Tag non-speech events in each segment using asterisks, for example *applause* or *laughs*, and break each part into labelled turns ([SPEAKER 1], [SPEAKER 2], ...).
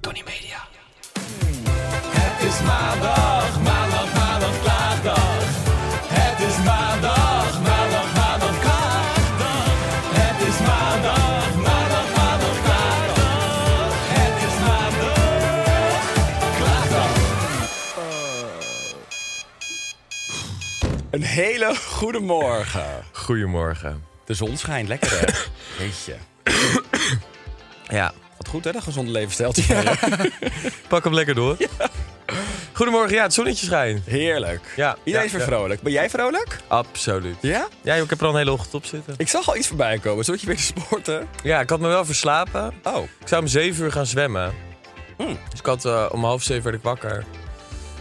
[SPEAKER 1] Tony Media. Het is maandag, maandag, maandag, klaagdag. Het is maandag, maandag, maandag, klaagdag. Het is maandag, maandag, maandag, klaagdag. Het is maandag, klaagdag. Een hele goede morgen.
[SPEAKER 2] Goedemorgen.
[SPEAKER 1] De zon schijnt lekker, hè? *laughs* Jeetje.
[SPEAKER 2] Ja,
[SPEAKER 1] Wat goed, hè? Dat gezonde levensstijl. te varen.
[SPEAKER 2] pak hem lekker door. Goedemorgen, ja, het zonnetje schijnt.
[SPEAKER 1] Heerlijk.
[SPEAKER 2] Ja,
[SPEAKER 1] Iedereen
[SPEAKER 2] ja,
[SPEAKER 1] is weer
[SPEAKER 2] ja.
[SPEAKER 1] vrolijk. Ben jij vrolijk?
[SPEAKER 2] Absoluut.
[SPEAKER 1] Ja?
[SPEAKER 2] Ja, joh, ik heb er al een hele ochtend op zitten.
[SPEAKER 1] Ik zag al iets voorbij komen. Zodat je weer te sporten?
[SPEAKER 2] Ja, ik had me wel verslapen.
[SPEAKER 1] Oh.
[SPEAKER 2] Ik zou om zeven uur gaan zwemmen.
[SPEAKER 1] Hmm.
[SPEAKER 2] Dus ik had eh, om half zeven werd ik wakker.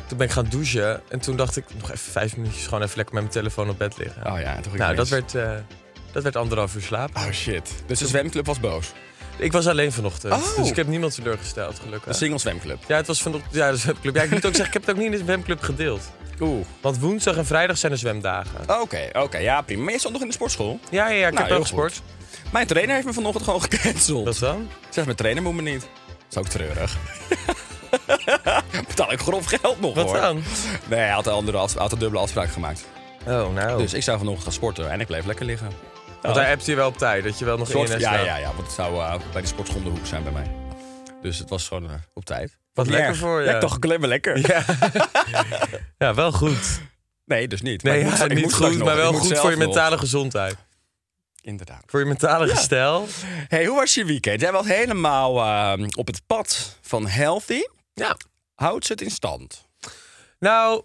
[SPEAKER 2] Toen ben ik gaan douchen. En toen dacht ik, nog even vijf minuutjes gewoon even lekker met mijn telefoon op bed liggen.
[SPEAKER 1] Oh ja, en toen ging
[SPEAKER 2] nou,
[SPEAKER 1] ik
[SPEAKER 2] dat
[SPEAKER 1] mis.
[SPEAKER 2] werd, eh, dat werd anderhalf uur slapen.
[SPEAKER 1] Oh shit. Dus de zwemclub was boos.
[SPEAKER 2] Ik was alleen vanochtend.
[SPEAKER 1] Oh. Dus
[SPEAKER 2] Dus ik heb niemand teleurgesteld, gelukkig.
[SPEAKER 1] Een single zwemclub.
[SPEAKER 2] Ja, het was vanochtend. Ja, de zwemclub. Ja, ik moet ook zeggen, ik heb het ook niet in de zwemclub gedeeld.
[SPEAKER 1] Oeh.
[SPEAKER 2] Want woensdag en vrijdag zijn de zwemdagen.
[SPEAKER 1] Oké, oké. ja, prima. Maar je stond nog in de sportschool?
[SPEAKER 2] Ja, ja, ja
[SPEAKER 1] Nou,
[SPEAKER 2] ik heb wel
[SPEAKER 1] heel goed.
[SPEAKER 2] gesport.
[SPEAKER 1] Mijn trainer heeft me vanochtend gewoon gecanceld.
[SPEAKER 2] Wat dan?
[SPEAKER 1] Zeg, mijn trainer moet me niet. Dat is ook treurig. *laughs* Betaal ik grof geld nog,
[SPEAKER 2] Wat
[SPEAKER 1] hoor.
[SPEAKER 2] dan?
[SPEAKER 1] Nee, hij had een, andere afs- hij had een dubbele afspraak gemaakt.
[SPEAKER 2] Oh, nou.
[SPEAKER 1] Dus ik zou vanochtend gaan sporten en ik bleef lekker liggen.
[SPEAKER 2] Want hij appt je wel op tijd, dat je wel nog
[SPEAKER 1] Soort-
[SPEAKER 2] in en
[SPEAKER 1] ja,
[SPEAKER 2] staat.
[SPEAKER 1] ja, ja, want het zou eh, bij de sportschool om de hoek zijn bij mij. Dus het was gewoon eh, op tijd.
[SPEAKER 2] Wat
[SPEAKER 1] Niet
[SPEAKER 2] lekker
[SPEAKER 1] erg.
[SPEAKER 2] voor je.
[SPEAKER 1] Ja, ik dacht, ik alleen maar lekker.
[SPEAKER 2] Ja, *laughs* wel goed.
[SPEAKER 1] Nee, dus niet. Maar
[SPEAKER 2] Nee,
[SPEAKER 1] ik moet-
[SPEAKER 2] ja,
[SPEAKER 1] ik moet
[SPEAKER 2] niet
[SPEAKER 1] straks
[SPEAKER 2] goed,
[SPEAKER 1] nog.
[SPEAKER 2] maar
[SPEAKER 1] Ik
[SPEAKER 2] wel
[SPEAKER 1] moet
[SPEAKER 2] goed
[SPEAKER 1] zelf
[SPEAKER 2] voor je
[SPEAKER 1] nog.
[SPEAKER 2] mentale gezondheid.
[SPEAKER 1] Inderdaad.
[SPEAKER 2] Voor je mentale gestel.
[SPEAKER 1] hey, hoe was je weekend? Jij was helemaal eh, op het pad van healthy.
[SPEAKER 2] Ja.
[SPEAKER 1] Houdt ze het in stand?
[SPEAKER 2] Nou,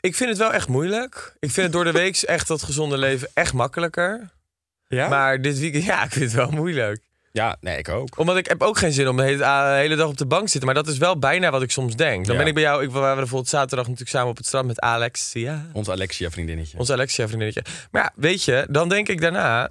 [SPEAKER 2] ik vind het wel echt moeilijk. Ik vind het door de week echt dat gezonde leven echt makkelijker.
[SPEAKER 1] Ja?
[SPEAKER 2] Maar dit weekend, ja, ik vind het wel moeilijk.
[SPEAKER 1] ja, nee, ik ook.
[SPEAKER 2] Omdat ik heb ook geen zin om de hele, ah, de hele dag op de bank te zitten. Maar dat is wel bijna wat ik soms denk. Dan
[SPEAKER 1] Ja.
[SPEAKER 2] ben ik bij jou, ik, we waren bijvoorbeeld zaterdag natuurlijk samen op het strand met Alexia.
[SPEAKER 1] Onze Alexia vriendinnetje.
[SPEAKER 2] Onze Alexia vriendinnetje. Maar ja, weet je, dan denk ik daarna...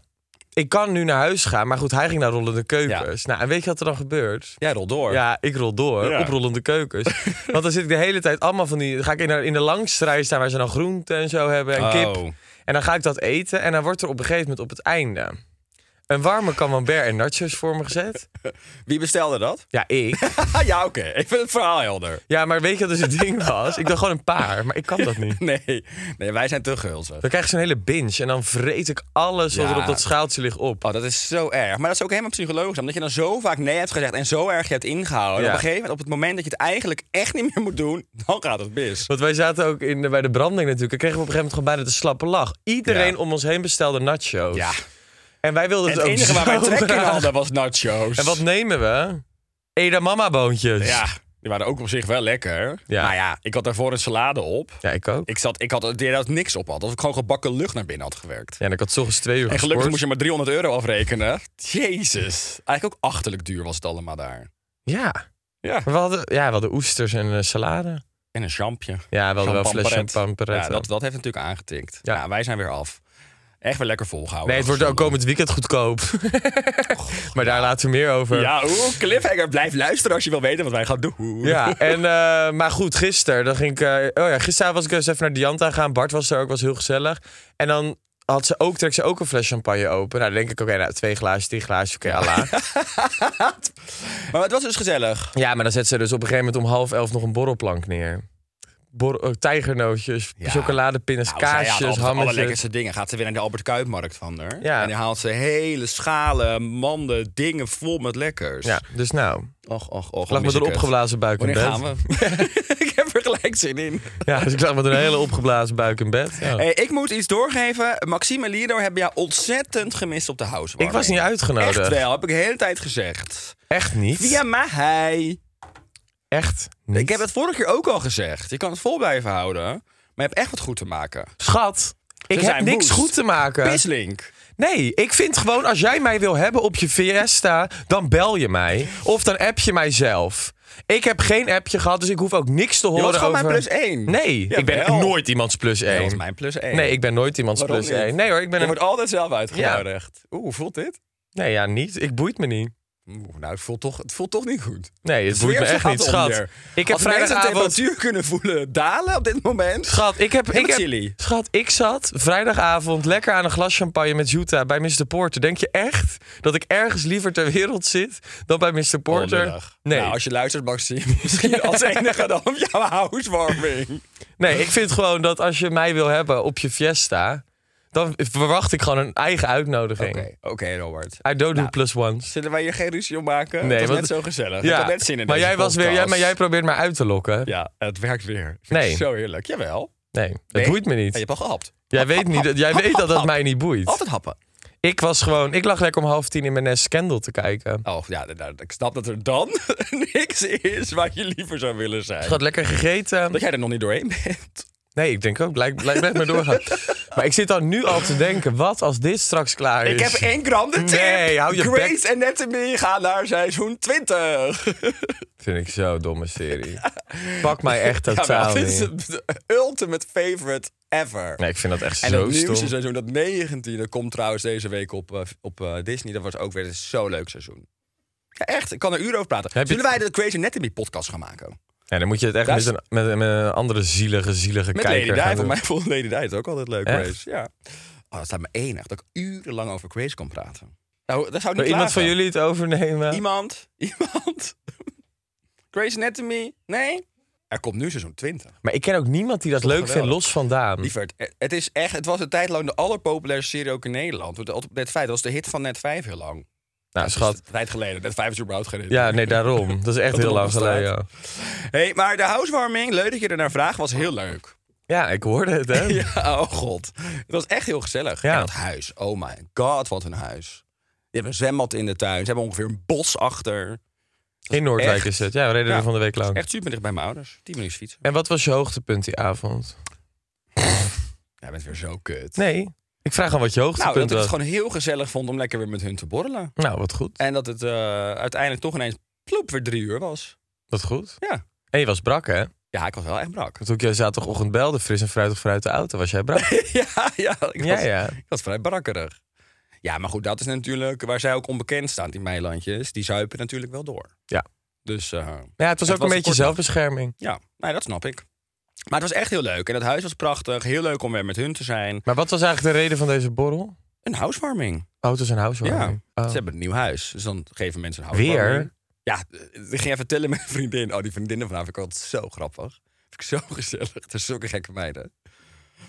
[SPEAKER 2] Ik kan nu naar huis gaan, maar goed, hij ging naar Rollende Keukens. Nou, en weet je wat er dan gebeurt?
[SPEAKER 1] Jij rolt door.
[SPEAKER 2] Ja, ik rol door
[SPEAKER 1] Ja.
[SPEAKER 2] op Rollende
[SPEAKER 1] *laughs*
[SPEAKER 2] Keukens. Want dan zit ik de hele tijd allemaal van die... Dan ga ik in de, in de langste rij staan waar ze dan groenten en zo hebben en
[SPEAKER 1] Oh.
[SPEAKER 2] kip. En dan ga ik dat eten en dan wordt er op een gegeven moment op het einde... een warme camembert en nachos voor me gezet.
[SPEAKER 1] Wie bestelde dat? *laughs*
[SPEAKER 2] Ja, ik.
[SPEAKER 1] ja, oké. Ik vind het verhaal helder.
[SPEAKER 2] Ja, maar weet je wat dus het ding was? Ik dacht gewoon een paar, maar ik kan dat niet.
[SPEAKER 1] Nee, nee wij zijn te gulzig.
[SPEAKER 2] Dan krijg ik zo'n hele binge en dan vreet ik alles wat
[SPEAKER 1] Ja.
[SPEAKER 2] er op dat schaaltje ligt op.
[SPEAKER 1] Oh, dat is zo erg. Maar dat is ook helemaal psychologisch. Omdat je dan zo vaak nee hebt gezegd en zo erg je hebt ingehouden.
[SPEAKER 2] Ja.
[SPEAKER 1] Op een gegeven moment, op het moment dat je het eigenlijk echt niet meer moet doen, dan gaat het mis.
[SPEAKER 2] Want wij zaten ook in, bij de branding natuurlijk. En kregen we op een gegeven moment gewoon bijna de slappe lach. Iedereen
[SPEAKER 1] Ja.
[SPEAKER 2] om ons heen bestelde nachos.
[SPEAKER 1] Ja.
[SPEAKER 2] En wij wilden het,
[SPEAKER 1] het
[SPEAKER 2] ook
[SPEAKER 1] enige waar wij
[SPEAKER 2] zo
[SPEAKER 1] trek in
[SPEAKER 2] graag.
[SPEAKER 1] hadden was nachos.
[SPEAKER 2] En wat nemen we? Edamama-boontjes.
[SPEAKER 1] Ja, die waren ook op zich wel lekker.
[SPEAKER 2] Ja.
[SPEAKER 1] Maar ja, ik had daarvoor een salade op.
[SPEAKER 2] Ja, ik ook.
[SPEAKER 1] Ik, zat, ik had het idee dat het niks op had. Als ik gewoon gebakken lucht naar binnen had gewerkt.
[SPEAKER 2] Ja, en ik had s'ochtends twee uur
[SPEAKER 1] En gelukkig
[SPEAKER 2] gesport.
[SPEAKER 1] moest je maar 300 euro afrekenen. Jezus. Eigenlijk ook achterlijk duur was het allemaal daar.
[SPEAKER 2] Ja.
[SPEAKER 1] Ja.
[SPEAKER 2] Maar we hadden, ja, we hadden oesters en eh, salade.
[SPEAKER 1] En een champje.
[SPEAKER 2] Ja, we hadden wel een fles
[SPEAKER 1] Champamperet.
[SPEAKER 2] champagne.
[SPEAKER 1] Ja, dat, dat heeft natuurlijk aangetikt. Ja.
[SPEAKER 2] Ja.
[SPEAKER 1] wij zijn weer af. Echt weer lekker volgehouden.
[SPEAKER 2] Nee, het wordt ook komend weekend goedkoop. *laughs* maar daar laten we meer over.
[SPEAKER 1] Ja, oeh, cliffhanger. Blijf luisteren als je wil weten wat wij gaan doen.
[SPEAKER 2] Ja, en, eh, maar goed, gisteren dan ging ik. eh, oh ja, gisteravond was ik eens even naar Dianta gaan. Bart was er ook, was heel gezellig. En dan had ze ook, trek ze ook een fles champagne open. Nou, dan denk ik, oké, nou, twee glazen, drie glazen, oké, ala.
[SPEAKER 1] *laughs* Maar het was dus gezellig.
[SPEAKER 2] *laughs* ja, maar dan zet ze dus op een gegeven moment om half elf nog een borrelplank neer. Bor eh, tijgernootjes,
[SPEAKER 1] Ja.
[SPEAKER 2] chocoladepinnen,
[SPEAKER 1] Nou, zij had
[SPEAKER 2] kaasjes,
[SPEAKER 1] altijd alle
[SPEAKER 2] hammetjes.
[SPEAKER 1] lekkerste dingen. Gaat ze weer naar de Albert Kuipmarkt van haar.
[SPEAKER 2] Ja.
[SPEAKER 1] En die haalt ze hele schalen, manden, dingen vol met lekkers.
[SPEAKER 2] Ja, dus nou,
[SPEAKER 1] Och, och, och.
[SPEAKER 2] ik lag
[SPEAKER 1] mis
[SPEAKER 2] met
[SPEAKER 1] ik
[SPEAKER 2] een
[SPEAKER 1] het.
[SPEAKER 2] opgeblazen buik in
[SPEAKER 1] Wanneer
[SPEAKER 2] bed.
[SPEAKER 1] gaan we? *laughs* ik heb er gelijk zin in.
[SPEAKER 2] Ja, dus ik lag met een hele opgeblazen buik in bed. Ja.
[SPEAKER 1] Hey, ik moet iets doorgeven. Maxime en Lido hebben jou ontzettend gemist op de house.
[SPEAKER 2] Ik was niet uitgenodigd.
[SPEAKER 1] Echt wel, heb ik de hele tijd gezegd.
[SPEAKER 2] Echt niet?
[SPEAKER 1] Via mij.
[SPEAKER 2] Echt niet.
[SPEAKER 1] Ik heb het vorige keer ook al gezegd. Je kan het vol blijven houden, maar je hebt echt wat goed te maken.
[SPEAKER 2] Schat, ik heb
[SPEAKER 1] zijn
[SPEAKER 2] niks
[SPEAKER 1] woest.
[SPEAKER 2] goed te maken.
[SPEAKER 1] Pislink.
[SPEAKER 2] Nee, ik vind gewoon als jij mij wil hebben op je Fiesta, dan bel je mij. Of dan app je mijzelf. Ik heb geen appje gehad, dus ik hoef ook niks te horen.
[SPEAKER 1] was gewoon
[SPEAKER 2] over...
[SPEAKER 1] mijn plus één.
[SPEAKER 2] Nee, ik ben
[SPEAKER 1] Jawel.
[SPEAKER 2] nooit iemands plus één.
[SPEAKER 1] Dat was mijn plus één.
[SPEAKER 2] Nee, ik ben nooit iemands
[SPEAKER 1] Waarom
[SPEAKER 2] plus
[SPEAKER 1] niet?
[SPEAKER 2] één. Nee hoor, ik
[SPEAKER 1] Je
[SPEAKER 2] ben een...
[SPEAKER 1] wordt altijd zelf uitgenodigd. Oeh, hoe voelt dit?
[SPEAKER 2] Nee, ja, niet. Ik boeit me niet.
[SPEAKER 1] Oeh, nou, het voelt, toch, het voelt toch niet goed.
[SPEAKER 2] Nee, het
[SPEAKER 1] De
[SPEAKER 2] boeit me
[SPEAKER 1] sfeer
[SPEAKER 2] echt
[SPEAKER 1] gaat
[SPEAKER 2] niet, schat.
[SPEAKER 1] onder.
[SPEAKER 2] Ik heb
[SPEAKER 1] Als mensen de
[SPEAKER 2] vrijdagavond...
[SPEAKER 1] temperatuur kunnen voelen dalen op dit moment.
[SPEAKER 2] Schat, ik heb... Ik
[SPEAKER 1] Helemaal
[SPEAKER 2] heb
[SPEAKER 1] chilly.
[SPEAKER 2] schat, ik zat vrijdagavond lekker aan een glas champagne met Jutta bij Mr. Porter. Denk je echt dat ik ergens liever ter wereld zit dan bij Mr. Porter?
[SPEAKER 1] Onderdag.
[SPEAKER 2] nee.
[SPEAKER 1] Nou, als je luistert, Max, zie je *laughs* misschien als enige dan op jouw housewarming.
[SPEAKER 2] nee, ik vind gewoon dat als je mij wil hebben op je fiesta, dan verwacht ik gewoon een eigen uitnodiging.
[SPEAKER 1] oké, Robert.
[SPEAKER 2] I don't do plus ones.
[SPEAKER 1] Zullen wij hier geen ruzie om maken?
[SPEAKER 2] Nee,
[SPEAKER 1] het was
[SPEAKER 2] want-
[SPEAKER 1] net zo gezellig. Ik had net zin in
[SPEAKER 2] maar
[SPEAKER 1] deze
[SPEAKER 2] jij, was weer, jij,
[SPEAKER 1] podcast.
[SPEAKER 2] maar jij probeert mij uit te lokken.
[SPEAKER 1] Ja, het werkt weer. Vind
[SPEAKER 2] Nee.
[SPEAKER 1] ik Zo heerlijk. Jawel.
[SPEAKER 2] Nee, dat
[SPEAKER 1] Nee.
[SPEAKER 2] boeit me
[SPEAKER 1] Ja, je
[SPEAKER 2] niet.
[SPEAKER 1] hebt al gehapt.
[SPEAKER 2] Jij
[SPEAKER 1] Hap,
[SPEAKER 2] weet,
[SPEAKER 1] hap,
[SPEAKER 2] niet,
[SPEAKER 1] hap.
[SPEAKER 2] dat- jij
[SPEAKER 1] Hap,
[SPEAKER 2] weet dat
[SPEAKER 1] hap,
[SPEAKER 2] dat
[SPEAKER 1] *laughs* hap.
[SPEAKER 2] mij niet boeit.
[SPEAKER 1] Altijd happen.
[SPEAKER 2] Ik was gewoon, ik lag lekker om half tien in mijn nest Scandal te kijken.
[SPEAKER 1] Oh, ja, nou, ik snap dat er dan *laughs* niks is waar je liever zou willen zijn.
[SPEAKER 2] Ik had lekker gegeten.
[SPEAKER 1] Dat jij er nog niet doorheen bent.
[SPEAKER 2] Nee, ik denk ook, lijkt lijkt- blijf maar
[SPEAKER 1] *laughs*
[SPEAKER 2] doorgaan. Maar ik zit dan nu al te denken, wat als dit straks klaar is?
[SPEAKER 1] Ik heb e- één grande tip.
[SPEAKER 2] Nee, hou je
[SPEAKER 1] Grace Anatomy, ga naar seizoen 20.
[SPEAKER 2] Vind ik zo domme serie. Pak mij
[SPEAKER 1] *laughs*
[SPEAKER 2] echt
[SPEAKER 1] Jawel,
[SPEAKER 2] totaal
[SPEAKER 1] dit is
[SPEAKER 2] niet.
[SPEAKER 1] de ultimate favorite ever.
[SPEAKER 2] Nee, ik vind dat echt
[SPEAKER 1] En
[SPEAKER 2] zo
[SPEAKER 1] het nieuwste
[SPEAKER 2] stom.
[SPEAKER 1] seizoen, dat 19e, komt trouwens deze week op, eh, op eh, Disney. Dat was ook weer een zo leuk seizoen. Ja, echt, ik kan er uren over praten.
[SPEAKER 2] Heb je
[SPEAKER 1] Zullen wij de Crazy Anatomy podcast gaan maken?
[SPEAKER 2] Ja, dan moet je het echt
[SPEAKER 1] Daar
[SPEAKER 2] met een, met, een- met een andere zielige, zielige
[SPEAKER 1] Met
[SPEAKER 2] kijker
[SPEAKER 1] Lady Di.
[SPEAKER 2] gaan
[SPEAKER 1] Voor
[SPEAKER 2] doen.
[SPEAKER 1] mij vond Lady Di het ook altijd leuk,
[SPEAKER 2] Echt?
[SPEAKER 1] Grace. Ja. Oh, dat staat me enig dat ik urenlang over Grace kan praten. Nou, dat zou ik
[SPEAKER 2] Wil
[SPEAKER 1] niet
[SPEAKER 2] iemand van
[SPEAKER 1] klagen.
[SPEAKER 2] jullie eh? het overnemen?
[SPEAKER 1] Iemand? Iemand? *laughs* Grace Anatomy? Nee? Er komt nu seizoen 20.
[SPEAKER 2] Maar ik ken ook niemand die dat
[SPEAKER 1] Toch
[SPEAKER 2] leuk vindt,
[SPEAKER 1] geweldig.
[SPEAKER 2] los van Daan.
[SPEAKER 1] Lieverd, eh, het, is echt, het was een tijd lang de allerpopulairste serie ook in Nederland. Want Op Net 5, dat was de hit van Net 5 heel lang.
[SPEAKER 2] Nou,
[SPEAKER 1] Dat
[SPEAKER 2] schat.
[SPEAKER 1] is een tijd geleden. Net 5 is überhaupt geen hit.
[SPEAKER 2] Ja, nee, daarom. Dat is echt
[SPEAKER 1] Dat
[SPEAKER 2] heel lang
[SPEAKER 1] erop staat.
[SPEAKER 2] geleden. Ja.
[SPEAKER 1] Hey, maar de housewarming, leuk dat je er naar vraagt, was heel leuk.
[SPEAKER 2] Ja, ik hoorde het, hè?
[SPEAKER 1] *laughs* Ja, oh god. Het was echt heel gezellig.
[SPEAKER 2] Ja.
[SPEAKER 1] En dat huis, oh my god, wat een huis. Je hebt een zwembad in de tuin, ze hebben ongeveer een bos achter.
[SPEAKER 2] In Noordwijk
[SPEAKER 1] echt-
[SPEAKER 2] is het. Ja, we reden
[SPEAKER 1] Ja.
[SPEAKER 2] er van de week lang.
[SPEAKER 1] Echt super dicht bij mijn ouders. 10 minuten fietsen.
[SPEAKER 2] En wat was je hoogtepunt die avond?
[SPEAKER 1] Jij bent weer zo kut.
[SPEAKER 2] Nee, ik vraag aan wat je
[SPEAKER 1] Nou, dat
[SPEAKER 2] hoogtepunt
[SPEAKER 1] ik het
[SPEAKER 2] was.
[SPEAKER 1] gewoon heel gezellig vond om lekker weer met hun te borrelen.
[SPEAKER 2] Nou, wat goed.
[SPEAKER 1] En dat het eh, uiteindelijk toch ineens ploep weer drie uur was.
[SPEAKER 2] Wat goed.
[SPEAKER 1] Ja.
[SPEAKER 2] En je was brak, hè?
[SPEAKER 1] Ja, ik was wel echt
[SPEAKER 2] *laughs*
[SPEAKER 1] brak.
[SPEAKER 2] Want toen ik je zaterdagochtend belde, fris en fruitig vanuit de auto, was jij brak.
[SPEAKER 1] ja, ja, *laughs* ik was,
[SPEAKER 2] ja, ja.
[SPEAKER 1] ik was vrij brakkerig. Ja, maar goed, dat is natuurlijk waar zij ook onbekend staan, die Meilandjes. Die zuipen natuurlijk wel door.
[SPEAKER 2] Ja.
[SPEAKER 1] Dus eh,
[SPEAKER 2] Ja, het was
[SPEAKER 1] Het
[SPEAKER 2] ook
[SPEAKER 1] was
[SPEAKER 2] een beetje
[SPEAKER 1] een kort
[SPEAKER 2] zelfbescherming.
[SPEAKER 1] ja, nee, dat snap ik. Maar het was echt heel leuk. En het huis was prachtig. Heel leuk om weer met hun te zijn.
[SPEAKER 2] Maar wat was eigenlijk de reden van deze borrel?
[SPEAKER 1] Een housewarming.
[SPEAKER 2] Auto's en
[SPEAKER 1] Ja,
[SPEAKER 2] housewarming. Oh.
[SPEAKER 1] ze hebben een nieuw huis. Dus dan geven mensen een
[SPEAKER 2] Weer?
[SPEAKER 1] housewarming. Ja, eh, ik ging vertellen met mijn vriendin. Oh, die vriendinnen vanavond, ik altijd zo grappig. Vind ik zo *laughs* gezellig. Het is zulke gekke meiden.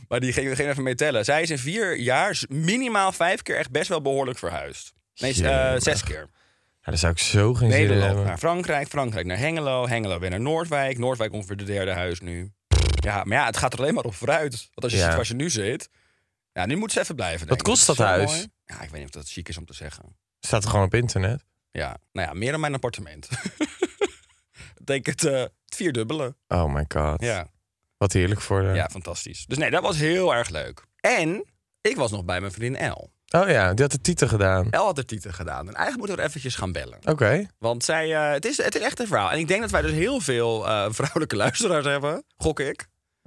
[SPEAKER 1] Maar die ging, ging even mee tellen. Zij is in vier jaar z- minimaal vijf keer echt best wel behoorlijk verhuisd. Nee, eh,
[SPEAKER 2] Jemig.
[SPEAKER 1] zes keer.
[SPEAKER 2] Ja, daar zou ik zo geen zin in
[SPEAKER 1] Nederland
[SPEAKER 2] hebben.
[SPEAKER 1] naar Frankrijk, Frankrijk naar Hengelo, Hengelo weer naar Noordwijk. Noordwijk ongeveer de derde huis nu. Ja, maar ja, het gaat er alleen maar op vooruit. Want als je
[SPEAKER 2] Ja.
[SPEAKER 1] ziet waar ze nu zit... Ja, nu moet ze even blijven. denk ik.
[SPEAKER 2] kost
[SPEAKER 1] is
[SPEAKER 2] dat
[SPEAKER 1] zo
[SPEAKER 2] huis?
[SPEAKER 1] mooi. Ja, ik weet niet of dat chic is om te zeggen.
[SPEAKER 2] Staat er gewoon op internet.
[SPEAKER 1] Ja, nou ja, meer dan mijn appartement. *laughs* Betekent eh het vierdubbele.
[SPEAKER 2] Oh my god.
[SPEAKER 1] Ja.
[SPEAKER 2] Wat heerlijk voor de...
[SPEAKER 1] ja, fantastisch. Dus nee, dat was heel erg leuk. En ik was nog bij mijn vriendin El.
[SPEAKER 2] Oh ja, die had de titel gedaan.
[SPEAKER 1] El had de titel gedaan. En eigenlijk moeten we er eventjes gaan bellen.
[SPEAKER 2] Oké.
[SPEAKER 1] Want zij, eh, het, is, het is echt een verhaal. En ik denk dat wij dus heel veel eh, *laughs* vrouwelijke luisteraars hebben. Gok ik.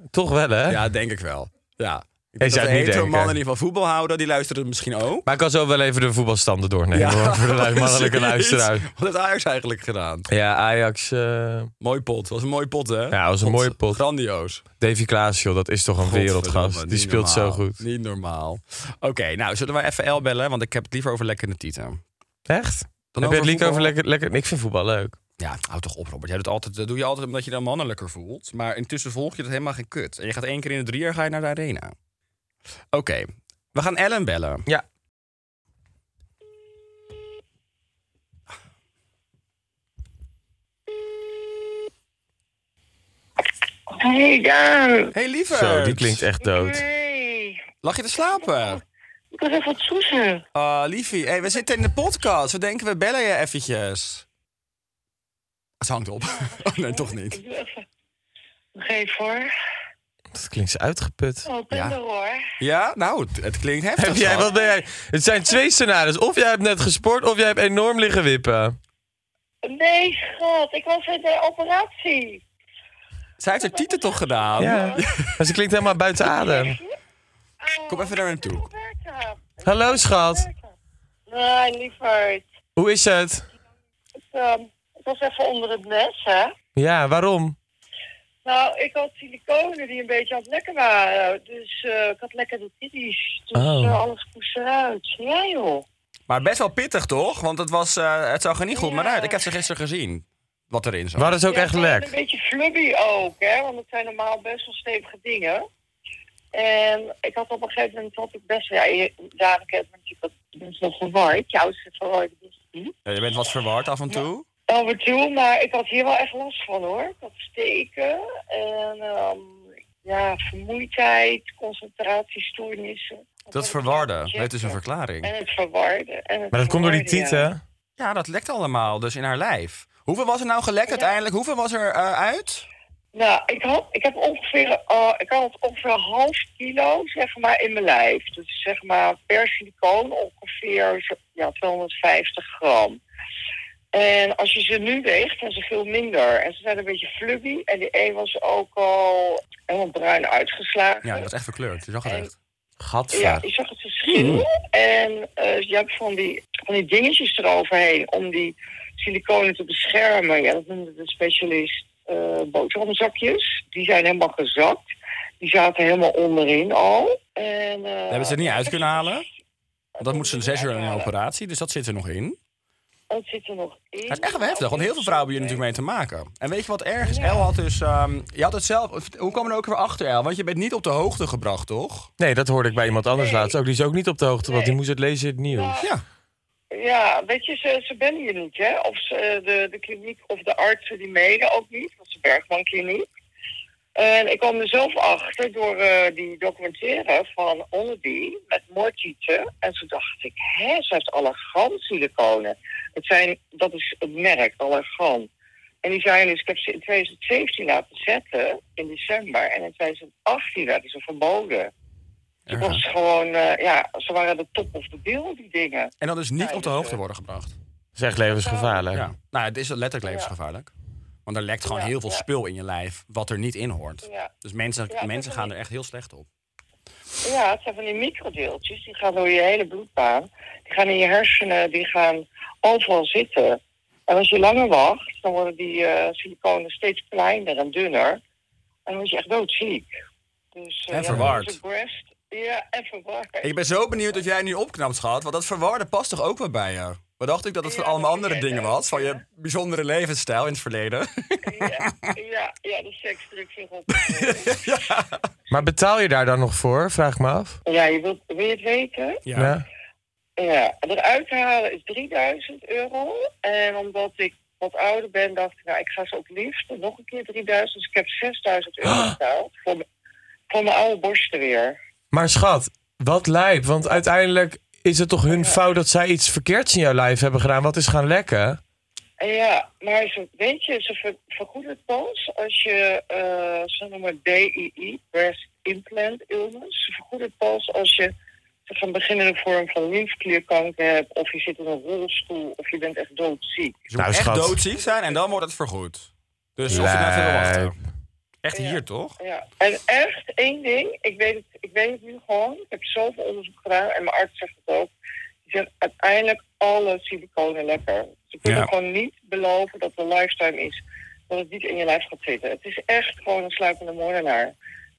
[SPEAKER 2] Toch wel, hè?
[SPEAKER 1] Ja, denk ik wel. Ja. Ik denk dat
[SPEAKER 2] zou het
[SPEAKER 1] de
[SPEAKER 2] niet
[SPEAKER 1] hetero
[SPEAKER 2] denken.
[SPEAKER 1] mannen die van voetbal houden, die luisteren misschien ook.
[SPEAKER 2] Maar ik kan zo wel even de voetbalstanden doornemen hoor, voor de lui-
[SPEAKER 1] *laughs*
[SPEAKER 2] mannelijke
[SPEAKER 1] precies.
[SPEAKER 2] luisteraar.
[SPEAKER 1] Wat heeft Ajax eigenlijk gedaan?
[SPEAKER 2] Ja, Ajax, eh,
[SPEAKER 1] Mooi pot. Was een mooie pot, hè?
[SPEAKER 2] Ja, was een mooie pot.
[SPEAKER 1] Grandioos.
[SPEAKER 2] Davy Klaas, joh, dat is toch een
[SPEAKER 1] Godverdomme,
[SPEAKER 2] wereldgast. Die
[SPEAKER 1] niet
[SPEAKER 2] speelt zo
[SPEAKER 1] normaal.
[SPEAKER 2] goed.
[SPEAKER 1] Niet normaal. Oké, nou zullen we even El bellen? Want ik heb het liever over lekkende tieten.
[SPEAKER 2] Echt?
[SPEAKER 1] Dan
[SPEAKER 2] Heb
[SPEAKER 1] over
[SPEAKER 2] je het liek
[SPEAKER 1] voetbal?
[SPEAKER 2] over lekker, lekker... Ik vind voetbal leuk.
[SPEAKER 1] Ja, hou toch op, Robert. Jij doet altijd, dat doe je altijd omdat je dan mannelijker voelt. Maar intussen volg je dat helemaal geen kut. En je gaat één keer in de drie jaar ga je naar de arena. Oké, we gaan Ellen bellen.
[SPEAKER 2] Ja.
[SPEAKER 3] Hey Daan.
[SPEAKER 1] hey, lieverd.
[SPEAKER 2] Zo, die klinkt echt dood.
[SPEAKER 3] Hey.
[SPEAKER 1] Lag je te slapen?
[SPEAKER 3] Ik was even wat soezen.
[SPEAKER 1] Ah, liefie. hey, we zitten in de podcast. We denken, we bellen je eventjes. Het hangt op. *laughs* Oh, nee, toch niet.
[SPEAKER 3] Ik doe even. Geef hoor.
[SPEAKER 2] Dat klinkt zo uitgeput.
[SPEAKER 3] Oh, ik ben
[SPEAKER 1] Ja.
[SPEAKER 3] er hoor.
[SPEAKER 1] Ja, nou, het, het klinkt heftig.
[SPEAKER 2] Heb jij,
[SPEAKER 1] schat.
[SPEAKER 2] wat ben jij? Het zijn twee scenario's. Of jij hebt net gesport, of jij hebt enorm liggen wippen.
[SPEAKER 3] Nee, schat. Ik was in de operatie.
[SPEAKER 1] Zij heeft haar tieten toch gedaan?
[SPEAKER 2] Ja. *laughs* Maar ze klinkt helemaal buiten adem.
[SPEAKER 3] Oh,
[SPEAKER 1] Kom even naar hem toe.
[SPEAKER 3] ik ben aan het werken.
[SPEAKER 2] Hallo, schat.
[SPEAKER 3] Nee, lieverd.
[SPEAKER 2] Hoe is het?
[SPEAKER 3] Het, ehm, het was even onder het mes, hè?
[SPEAKER 2] Ja, waarom?
[SPEAKER 3] Nou, ik had siliconen die een beetje aan het lekken waren. Dus eh, ik had lekker de titties. Dus
[SPEAKER 2] Oh.
[SPEAKER 3] eh, alles moest eruit. Ja, joh.
[SPEAKER 1] Maar best wel pittig, toch? Want het, was, eh, het zag er niet goed
[SPEAKER 3] Ja.
[SPEAKER 1] maar uit. Ik heb ze gisteren gezien, wat erin zat.
[SPEAKER 2] Waar is ook
[SPEAKER 3] Ja,
[SPEAKER 2] echt
[SPEAKER 3] het waren
[SPEAKER 2] lek?
[SPEAKER 3] Een beetje flubby ook, hè? Want het zijn normaal best wel stevige dingen. En ik had op een gegeven moment had ik best wel. Ja, je- ja ik heb natuurlijk dat mensen nog verward. Jou is het verward. dus niet.
[SPEAKER 1] Ja, je bent wat verward af en toe.
[SPEAKER 3] Af en toe, maar ik had hier wel echt last van hoor. Ik had steken en ehm, ja, vermoeidheid, concentratiestoornissen.
[SPEAKER 1] Dat verwarde, het is een verklaring.
[SPEAKER 3] En het verwarde. En het
[SPEAKER 2] Maar dat komt door die
[SPEAKER 3] verwarde, ja.
[SPEAKER 2] tieten.
[SPEAKER 1] Ja, dat lekt allemaal, dus in haar lijf. Hoeveel was er nou gelekt uiteindelijk? Hoeveel was er eh, uit?
[SPEAKER 3] Nou, ik had, ik, heb ongeveer, eh, ik had ongeveer een half kilo zeg maar, in mijn lijf. Dus zeg maar per silicoon ongeveer zo- ja, 250 gram. En als je ze nu weegt, zijn ze veel minder. En ze zijn een beetje flubby. En die een was ook al helemaal bruin uitgeslagen.
[SPEAKER 1] Ja, die was echt verkleurd. Je zag het
[SPEAKER 3] En-
[SPEAKER 1] echt.
[SPEAKER 3] Ja,
[SPEAKER 2] Gadver.
[SPEAKER 3] je zag het verschil.
[SPEAKER 1] Mm.
[SPEAKER 3] En eh, je hebt van die, van die dingetjes eroverheen om die siliconen te beschermen. Ja, dat noemde de specialist eh boterhamzakjes. Die zijn helemaal gezakt. Die zaten helemaal onderin al. En, eh,
[SPEAKER 1] Hebben ze er niet uit kunnen halen? Want dat moet ze zes uur in een
[SPEAKER 3] uithalen.
[SPEAKER 1] operatie, dus dat zit er nog in.
[SPEAKER 3] Dat zit er nog in.
[SPEAKER 1] Het is echt wel heftig, want heel veel vrouwen hebben hier natuurlijk mee te maken. En weet je wat erg is? El had dus... ehm, je had het zelf... Hoe kwam er ook weer achter, El? Want je bent niet op de hoogte gebracht, toch?
[SPEAKER 2] Nee, dat hoorde ik bij iemand anders laatst ook. Die is ook niet op de hoogte, want die moest het lezen in het nieuws.
[SPEAKER 1] Ja.
[SPEAKER 3] Ja, weet je, ze, ze bellen je niet, hè? Of ze, eh, de, de kliniek of de artsen die mailen ook niet. Dat is de Bergman Kliniek. En ik kwam er zelf achter door eh, die documentaire van Onnedy met Mortieten. En toen dacht ik, hè, ze heeft allergan siliconen. Het zijn, dat is het merk, allergan. En die zijn dus, ik heb ze in 2017 laten zetten, in december. En in 2018 werden ze verboden. Het was gewoon, eh, ja, ze waren de top of the bill, die dingen.
[SPEAKER 1] En dan dus niet
[SPEAKER 3] Ja,
[SPEAKER 1] op de
[SPEAKER 3] dus,
[SPEAKER 1] hoogte
[SPEAKER 3] eh,
[SPEAKER 1] worden gebracht.
[SPEAKER 2] Dat is echt levensgevaarlijk.
[SPEAKER 1] Ja. Nou, het is letterlijk levensgevaarlijk. Want er lekt gewoon
[SPEAKER 3] Ja,
[SPEAKER 1] heel veel
[SPEAKER 3] ja.
[SPEAKER 1] spul in je lijf wat er niet in hoort.
[SPEAKER 3] Ja.
[SPEAKER 1] Dus mensen,
[SPEAKER 3] Ja,
[SPEAKER 1] mensen
[SPEAKER 3] dat
[SPEAKER 1] gaan
[SPEAKER 3] kan
[SPEAKER 1] er echt heel slecht op.
[SPEAKER 3] Ja, het zijn van die microdeeltjes. Die gaan door je hele bloedbaan. Die gaan in je hersenen, die gaan overal zitten. En als je langer wacht, dan worden die eh, siliconen steeds kleiner en dunner. En dan word je echt doodziek. Dus, eh,
[SPEAKER 1] En
[SPEAKER 3] ja,
[SPEAKER 1] verward.
[SPEAKER 3] dat is een breast. Ja, en verward.
[SPEAKER 1] Ik ben zo benieuwd dat jij nu opknapt, schat. Want dat verwarde past toch ook wel bij je? Wat dacht ik dat het van
[SPEAKER 3] Ja,
[SPEAKER 1] allemaal
[SPEAKER 3] dat
[SPEAKER 1] andere
[SPEAKER 3] weet
[SPEAKER 1] dingen
[SPEAKER 3] jij,
[SPEAKER 1] was? Van je
[SPEAKER 3] ja.
[SPEAKER 1] bijzondere levensstijl in het verleden.
[SPEAKER 3] Ja, *laughs* ja, ja, de seksdruk zich op.
[SPEAKER 2] Maar betaal je daar dan nog voor? Vraag me af.
[SPEAKER 3] ja, je wilt, wil je het weten?
[SPEAKER 1] Ja.
[SPEAKER 2] Ja.
[SPEAKER 3] Ja, eruit halen is 3000 euro. En omdat ik wat ouder ben, dacht ik, nou, ik ga ze op liefst nog een keer 3000. Dus ik heb 6000 euro betaald voor, m- voor mijn oude borsten weer.
[SPEAKER 2] Maar schat, wat lijp. Want uiteindelijk is het toch hun fout dat zij iets verkeerds in jouw lijf hebben gedaan. Wat is gaan lekken?
[SPEAKER 3] En ja, maar ze, weet je, ze ver, vergoeden het pas als je, eh, ze noemen het BII, Breast Implant Illness. Ze vergoeden het pas als je zeg, een beginnende vorm van lymfeklierkanker hebt, of je zit in een rolstoel, of je bent echt doodziek.
[SPEAKER 1] Ze moet
[SPEAKER 2] Nou,
[SPEAKER 1] echt
[SPEAKER 2] schat.
[SPEAKER 1] doodziek zijn en dan wordt het vergoed. Dus of je nou veel wil wachten. Echt hier, toch?
[SPEAKER 3] Ja, en echt één ding, ik weet, het, ik weet het nu gewoon, ik heb zoveel onderzoek gedaan en mijn arts zegt het ook. Die zegt uiteindelijk alle siliconen lekker. Ze kunnen
[SPEAKER 1] Ja.
[SPEAKER 3] gewoon niet beloven dat de lifetime is, dat het niet in je lijf gaat zitten. Het is echt gewoon een sluipende moordenaar.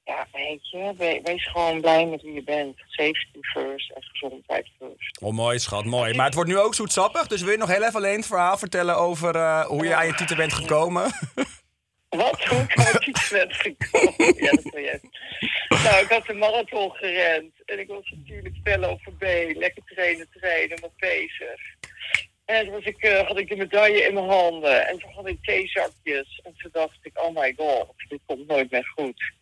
[SPEAKER 3] Ja, weet je, we- wees gewoon blij met wie je bent. Safety first en gezondheid first.
[SPEAKER 1] Oh, mooi, schat, mooi. Maar het wordt nu ook zoetsappig. Dus wil je nog heel even alleen het verhaal vertellen over eh, hoe je aan je titel bent gekomen?
[SPEAKER 3] Wat? Hoe kan ik iets met gekomen? Ja, dat wil jij. *laughs* Nou, ik had de marathon gerend. En ik was natuurlijk fel over B. Lekker trainen, trainen, maar bezig. En toen was ik, eh, had ik de medaille in mijn handen. En toen had ik theezakjes. En toen dacht ik, oh my god, dit komt nooit meer goed.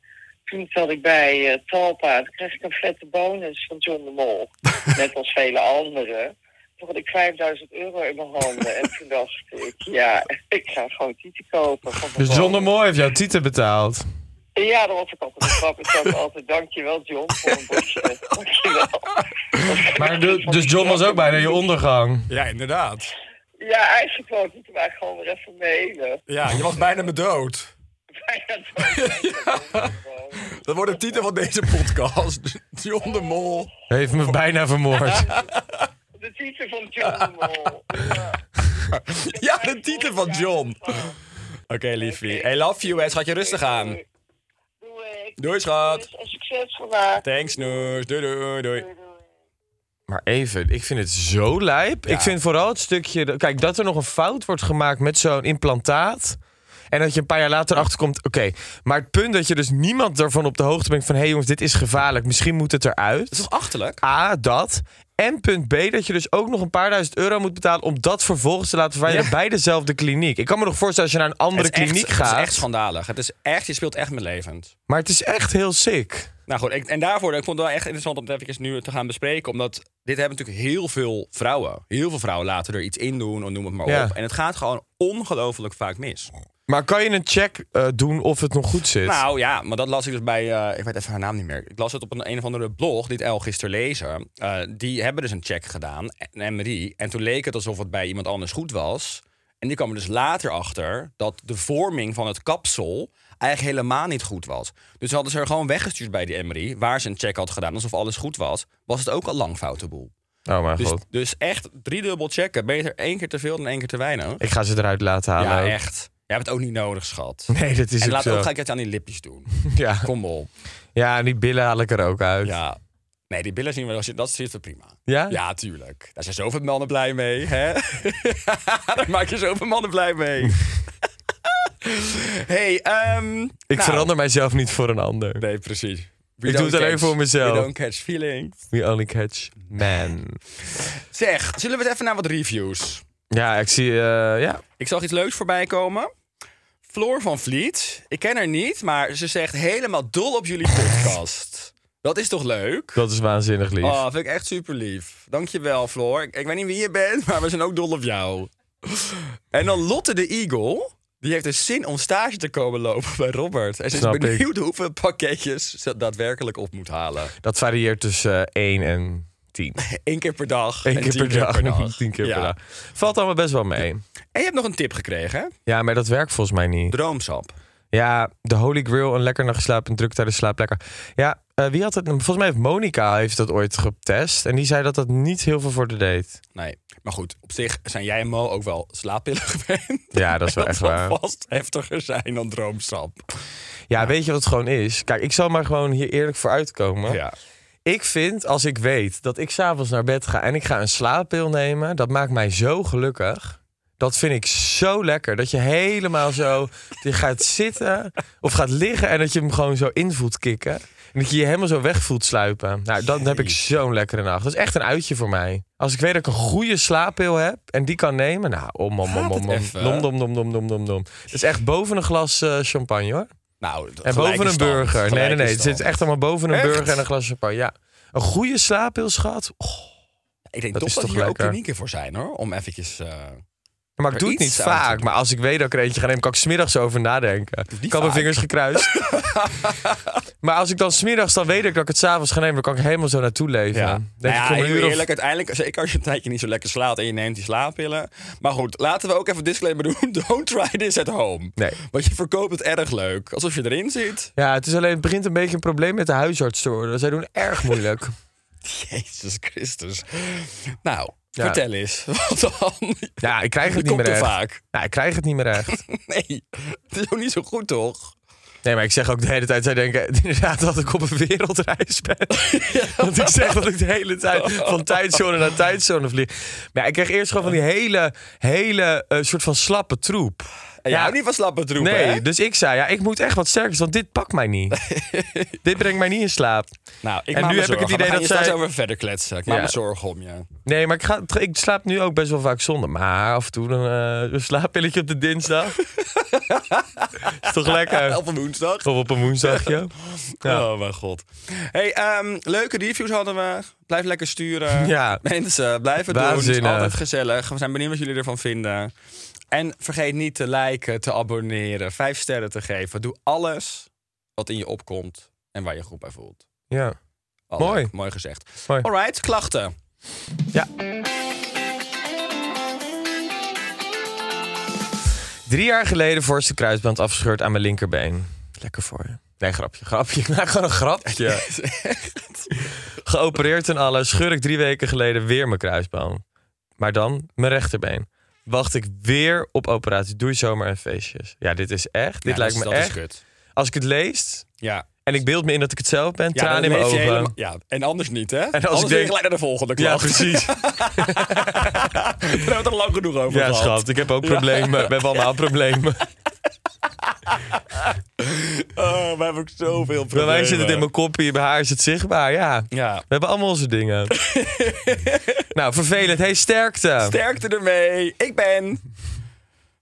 [SPEAKER 3] Toen zat ik bij eh, Talpa. Toen kreeg ik een vette bonus van John de Mol. Net als vele anderen. Toen had ik 5000 euro in mijn handen. En toen dacht ik, ja, *laughs* ik ga gewoon tieten kopen. van mijn
[SPEAKER 2] Dus John de
[SPEAKER 3] bonus.
[SPEAKER 2] Mooi heeft jouw tieten betaald.
[SPEAKER 3] Ja, dat was ook altijd een grap. Ik zei altijd, dankjewel John voor een bosje. Dankjewel.
[SPEAKER 2] Maar de- dus John was ook bijna je ondergang.
[SPEAKER 1] Ja, inderdaad.
[SPEAKER 3] Ja, eigenlijk wel. Ik moet hem eigenlijk gewoon weer even mailen.
[SPEAKER 1] Ja, je was bijna me dood.
[SPEAKER 3] Bijna dood.
[SPEAKER 1] Dat wordt de titel van deze podcast. John de Mol.
[SPEAKER 2] Heeft me bijna vermoord.
[SPEAKER 3] De titel van John Mol. Ja.
[SPEAKER 1] Ja, de titel van John. Oké, liefie. I love you, hè. Schat je rustig aan.
[SPEAKER 3] Doei.
[SPEAKER 1] Doei, schat.
[SPEAKER 3] Dus, En succes vandaag.
[SPEAKER 1] Thanks, Noes. Doei, doei, doei.
[SPEAKER 3] Doei, doei.
[SPEAKER 2] Maar even, ik vind het zo lijp. Ik vind vooral het stukje... dat- Kijk, dat er nog een fout wordt gemaakt met zo'n implantaat... En dat je een paar jaar later achterkomt, oké. Maar het punt dat je dus niemand ervan op de hoogte brengt van... hé hey jongens, dit is gevaarlijk, misschien moet het eruit.
[SPEAKER 1] Dat is toch achterlijk?
[SPEAKER 2] A, dat. En punt B, dat je dus ook nog een paar duizend euro moet betalen... om dat vervolgens te laten verwijderen
[SPEAKER 1] Ja.
[SPEAKER 2] bij dezelfde kliniek. Ik kan me nog voorstellen als je naar een andere
[SPEAKER 1] Het is echt-
[SPEAKER 2] kliniek
[SPEAKER 1] Het
[SPEAKER 2] gaat.
[SPEAKER 1] is echt schandalig. Het is echt, je speelt echt met levend.
[SPEAKER 2] maar het is echt heel sick.
[SPEAKER 1] Nou goed, ik, en daarvoor, ik vond het wel echt interessant om het even nu te gaan bespreken. Omdat dit hebben natuurlijk heel veel vrouwen. Heel veel vrouwen laten er iets in doen, of noem het maar
[SPEAKER 2] Ja.
[SPEAKER 1] op. En het gaat gewoon ongelooflijk vaak mis.
[SPEAKER 2] Maar kan je een check eh, doen of het nog goed zit?
[SPEAKER 1] Nou ja, maar dat las ik dus bij, eh, ik weet even haar naam niet meer. Ik las het op een, een of andere blog, dit El gisteren lezen. Eh, die hebben dus een check gedaan, een MRI. En toen leek het alsof het bij iemand anders goed was. En die kwam er dus later achter dat de vorming van het kapsel eigenlijk helemaal niet goed was. Dus hadden ze er gewoon weggestuurd bij die MRI, waar ze een check had gedaan, alsof alles goed was. Was het ook al lang foute boel.
[SPEAKER 2] oh mijn
[SPEAKER 1] Dus,
[SPEAKER 2] god.
[SPEAKER 1] dus echt driedubbel checken. Beter één keer te veel dan één keer te weinig.
[SPEAKER 2] Ik ga ze eruit laten halen.
[SPEAKER 1] Ja,
[SPEAKER 2] ook.
[SPEAKER 1] echt. Jij hebt het ook niet nodig, schat.
[SPEAKER 2] *laughs* Nee, dat is
[SPEAKER 1] en
[SPEAKER 2] ook
[SPEAKER 1] laat
[SPEAKER 2] zo.
[SPEAKER 1] ook gelijk het aan die lipjes doen.
[SPEAKER 2] Ja.
[SPEAKER 1] Kom op.
[SPEAKER 2] ja, en die billen haal ik er ook uit.
[SPEAKER 1] Ja. Nee, die billen zien we, als je- dat zit er prima.
[SPEAKER 2] Ja?
[SPEAKER 1] Ja, tuurlijk. Daar zijn zoveel mannen blij mee, hè? *laughs* Daar maak je zoveel mannen blij mee. *laughs* hey, ehm,
[SPEAKER 2] Ik
[SPEAKER 1] nou,
[SPEAKER 2] verander mijzelf niet voor een ander.
[SPEAKER 1] Nee, precies. We
[SPEAKER 2] Ik doe
[SPEAKER 1] don't
[SPEAKER 2] het alleen
[SPEAKER 1] catch-
[SPEAKER 2] voor mezelf.
[SPEAKER 1] We don't catch feelings.
[SPEAKER 2] We only catch man.
[SPEAKER 1] Zeg, zullen we het even naar wat reviews?
[SPEAKER 2] Ja, ik zie... eh, ja.
[SPEAKER 1] Ik zag iets leuks voorbij komen. Floor van Vliet. Ik ken haar niet, maar ze zegt helemaal dol op
[SPEAKER 2] *laughs*
[SPEAKER 1] jullie podcast. Dat is toch leuk?
[SPEAKER 2] Dat is waanzinnig lief.
[SPEAKER 1] Oh, vind ik echt super lief. Dankjewel, Floor. Ik, ik weet niet wie je bent, *laughs* maar we zijn ook dol op jou. En dan Lotte de Eagle. Die heeft dus zin om stage te komen lopen bij Robert. En ze
[SPEAKER 2] Snap
[SPEAKER 1] is
[SPEAKER 2] ik.
[SPEAKER 1] benieuwd hoeveel pakketjes ze daadwerkelijk op moet halen.
[SPEAKER 2] Dat varieert tussen eh, 1 en 10.
[SPEAKER 1] Eén keer per dag.
[SPEAKER 2] Eén
[SPEAKER 1] en
[SPEAKER 2] keer
[SPEAKER 1] tien
[SPEAKER 2] per dag. 10 *laughs*
[SPEAKER 1] Tien
[SPEAKER 2] keer
[SPEAKER 1] ja.
[SPEAKER 2] per dag. Valt allemaal best wel mee.
[SPEAKER 1] En je hebt nog een tip gekregen, hè?
[SPEAKER 2] Ja, maar dat werkt volgens mij niet.
[SPEAKER 1] Droomsap.
[SPEAKER 2] Ja, de Holy Grail, een lekker naar geslapen en druk tijdens slaap lekker. Ja, eh, wie had het? Volgens mij heeft Monica heeft dat ooit getest. En die zei dat dat niet heel veel voor de deed.
[SPEAKER 1] Nee. Maar goed, op zich zijn jij en Mo ook wel slaappillen *laughs* gewend.
[SPEAKER 2] Ja, dat is
[SPEAKER 1] *laughs*
[SPEAKER 2] wel
[SPEAKER 1] Dat
[SPEAKER 2] echt
[SPEAKER 1] zal
[SPEAKER 2] waar.
[SPEAKER 1] vast heftiger zijn dan droomsap.
[SPEAKER 2] Ja, weet je wat het gewoon is? Kijk, ik zal maar gewoon hier eerlijk voor uitkomen.
[SPEAKER 1] Ja.
[SPEAKER 2] Ik vind, als ik weet dat ik s'avonds naar bed ga en ik ga een slaappil nemen, dat maakt mij zo gelukkig. Dat vind ik zo lekker. Dat je helemaal zo je gaat zitten of gaat liggen en dat je hem gewoon zo in voelt kikken. En dat je je helemaal zo weg voelt sluipen. Nou, dan heb ik zo'n lekkere nacht. Dat is echt een uitje voor mij. Als ik weet dat ik een goede slaappil heb en die kan nemen. Nou, om, om, om,
[SPEAKER 1] Gaat
[SPEAKER 2] om,
[SPEAKER 1] het
[SPEAKER 2] om.
[SPEAKER 1] even?
[SPEAKER 2] Dom, dom, dom, dom, dom, dom, dom. Dat is echt boven een glas eh, champagne hoor.
[SPEAKER 1] Nou,
[SPEAKER 2] En
[SPEAKER 1] gelijke
[SPEAKER 2] boven een
[SPEAKER 1] stand.
[SPEAKER 2] burger. Nee,
[SPEAKER 1] Gelijke
[SPEAKER 2] nee, nee. Het
[SPEAKER 1] stand.
[SPEAKER 2] zit echt allemaal boven een
[SPEAKER 1] Echt?
[SPEAKER 2] burger en een glas champagne. Ja. Een goede slaappil, schat. Och,
[SPEAKER 1] Ik denk
[SPEAKER 2] Dat
[SPEAKER 1] toch
[SPEAKER 2] is
[SPEAKER 1] dat
[SPEAKER 2] toch
[SPEAKER 1] hier
[SPEAKER 2] lekker?
[SPEAKER 1] ook klinieken voor zijn, hoor. Om eventjes... eh,
[SPEAKER 2] maar ik
[SPEAKER 1] Er
[SPEAKER 2] doe het
[SPEAKER 1] iets
[SPEAKER 2] niet
[SPEAKER 1] aan te
[SPEAKER 2] vaak.
[SPEAKER 1] doen.
[SPEAKER 2] Maar als ik weet dat ik er eentje ga nemen, kan ik smiddags over nadenken. Ik
[SPEAKER 1] niet
[SPEAKER 2] had mijn
[SPEAKER 1] vaak.
[SPEAKER 2] vingers
[SPEAKER 1] *laughs*
[SPEAKER 2] gekruist. maar als ik dan smiddags dan weet ik dat ik het s'avonds ga nemen, dan kan ik helemaal zo naartoe leven.
[SPEAKER 1] Ja. nou
[SPEAKER 2] Denk ik
[SPEAKER 1] ja,
[SPEAKER 2] om een
[SPEAKER 1] heel
[SPEAKER 2] uur of-
[SPEAKER 1] eerlijk, uiteindelijk, zeker als je een tijdje niet zo lekker slaapt en je neemt die slaappillen. Maar goed, laten we ook even disclaimer doen. *laughs* Don't try this at home.
[SPEAKER 2] Nee.
[SPEAKER 1] Want je verkoopt het erg leuk. Alsof je erin
[SPEAKER 2] *laughs*
[SPEAKER 1] zit.
[SPEAKER 2] Ja, het is alleen, het begint een beetje een probleem met de huisarts te worden. Zij doen erg moeilijk.
[SPEAKER 1] *laughs* Jezus Christus. Nou,
[SPEAKER 2] Ja.
[SPEAKER 1] vertel eens. *laughs* Wat dan?
[SPEAKER 2] Ja, ik krijg het
[SPEAKER 1] Je
[SPEAKER 2] niet meer
[SPEAKER 1] komt
[SPEAKER 2] echt.
[SPEAKER 1] te vaak. *laughs*
[SPEAKER 2] Ja, Nou, ik krijg het niet meer echt.
[SPEAKER 1] Nee, het is ook niet zo goed, toch?
[SPEAKER 2] Nee, maar ik zeg ook de hele tijd, zij denken *laughs* inderdaad dat ik op een wereldreis
[SPEAKER 1] *laughs*
[SPEAKER 2] ben. Want ik zeg dat ik de hele tijd van tijdzone naar tijdzone vlieg. Maar ja, ik kreeg eerst gewoon van die hele, hele eh, soort van slappe troep.
[SPEAKER 1] En je houdt niet van slappe troepen,
[SPEAKER 2] nee,
[SPEAKER 1] hè?
[SPEAKER 2] dus ik zei, ja, ik moet echt wat sterkers, want dit pakt mij
[SPEAKER 1] *laughs*
[SPEAKER 2] niet. dit brengt mij niet in slaap.
[SPEAKER 1] Nou, ik
[SPEAKER 2] En
[SPEAKER 1] maak
[SPEAKER 2] nu
[SPEAKER 1] me
[SPEAKER 2] heb ik het
[SPEAKER 1] zorgen.
[SPEAKER 2] idee
[SPEAKER 1] We gaan
[SPEAKER 2] dat
[SPEAKER 1] je straks
[SPEAKER 2] zij-
[SPEAKER 1] over verder kletsen. Ik maak
[SPEAKER 2] Ja.
[SPEAKER 1] me zorgen om je.
[SPEAKER 2] Nee, maar ik, ga, ik slaap nu ook best wel vaak zonder. Maar af en toe een, eh, een slaappilletje op de dinsdag.
[SPEAKER 1] *laughs*
[SPEAKER 2] Is toch lekker?
[SPEAKER 1] Op een woensdag.
[SPEAKER 2] Of op een woensdagje. Ja.
[SPEAKER 1] Oh, mijn god. Hey, ehm, leuke reviews hadden we. Blijf lekker sturen.
[SPEAKER 2] *laughs* Ja.
[SPEAKER 1] Mensen, blijf het doen. Het
[SPEAKER 2] Waanzinnig.
[SPEAKER 1] is altijd gezellig. We zijn benieuwd wat jullie ervan vinden. En vergeet niet te liken, te abonneren, vijf sterren te geven. Doe alles wat in je opkomt en waar je goed bij voelt.
[SPEAKER 2] ja.
[SPEAKER 1] Al
[SPEAKER 2] Mooi.
[SPEAKER 1] leuk, Mooi gezegd.
[SPEAKER 2] Mooi.
[SPEAKER 1] Alright, klachten.
[SPEAKER 2] Ja. Drie jaar geleden voorste kruisband afgescheurd aan mijn linkerbeen. Lekker voor je. *laughs* Nee,
[SPEAKER 1] *laughs*
[SPEAKER 2] grapje, grapje. Ik maak gewoon een grapje. Geopereerd en alles, scheur ik drie weken geleden weer mijn kruisband. maar dan mijn rechterbeen. Wacht ik weer op operatie. Doei zomer en feestjes. Ja, dit is echt. Dit
[SPEAKER 1] Ja,
[SPEAKER 2] lijkt
[SPEAKER 1] dat is-
[SPEAKER 2] me
[SPEAKER 1] dus dat
[SPEAKER 2] echt.
[SPEAKER 1] Is kut.
[SPEAKER 2] Als ik het lees
[SPEAKER 1] Ja.
[SPEAKER 2] en ik beeld me in dat ik het zelf ben,
[SPEAKER 1] Ja,
[SPEAKER 2] tranen
[SPEAKER 1] dan
[SPEAKER 2] in mijn
[SPEAKER 1] leef je
[SPEAKER 2] ogen.
[SPEAKER 1] helemaal- ja, en anders niet, hè? En
[SPEAKER 2] ik
[SPEAKER 1] anders denk...
[SPEAKER 2] denk-
[SPEAKER 1] gelijk naar de volgende *laughs*
[SPEAKER 2] Ja,
[SPEAKER 1] klacht.
[SPEAKER 2] precies.
[SPEAKER 1] Daar hebben we het al lang genoeg over
[SPEAKER 2] Ja,
[SPEAKER 1] gehad.
[SPEAKER 2] schat, ik heb ook problemen. We hebben
[SPEAKER 1] *laughs*
[SPEAKER 2] allemaal problemen.
[SPEAKER 1] Oh, we hebben ook zoveel
[SPEAKER 2] Bij
[SPEAKER 1] problemen.
[SPEAKER 2] mij zit het in mijn kopie, bij haar is het zichtbaar. Ja,
[SPEAKER 1] eh. Ja.
[SPEAKER 2] we hebben allemaal onze dingen.
[SPEAKER 1] *laughs*
[SPEAKER 2] nou, vervelend. Hey, sterkte.
[SPEAKER 1] Sterkte ermee. Ik ben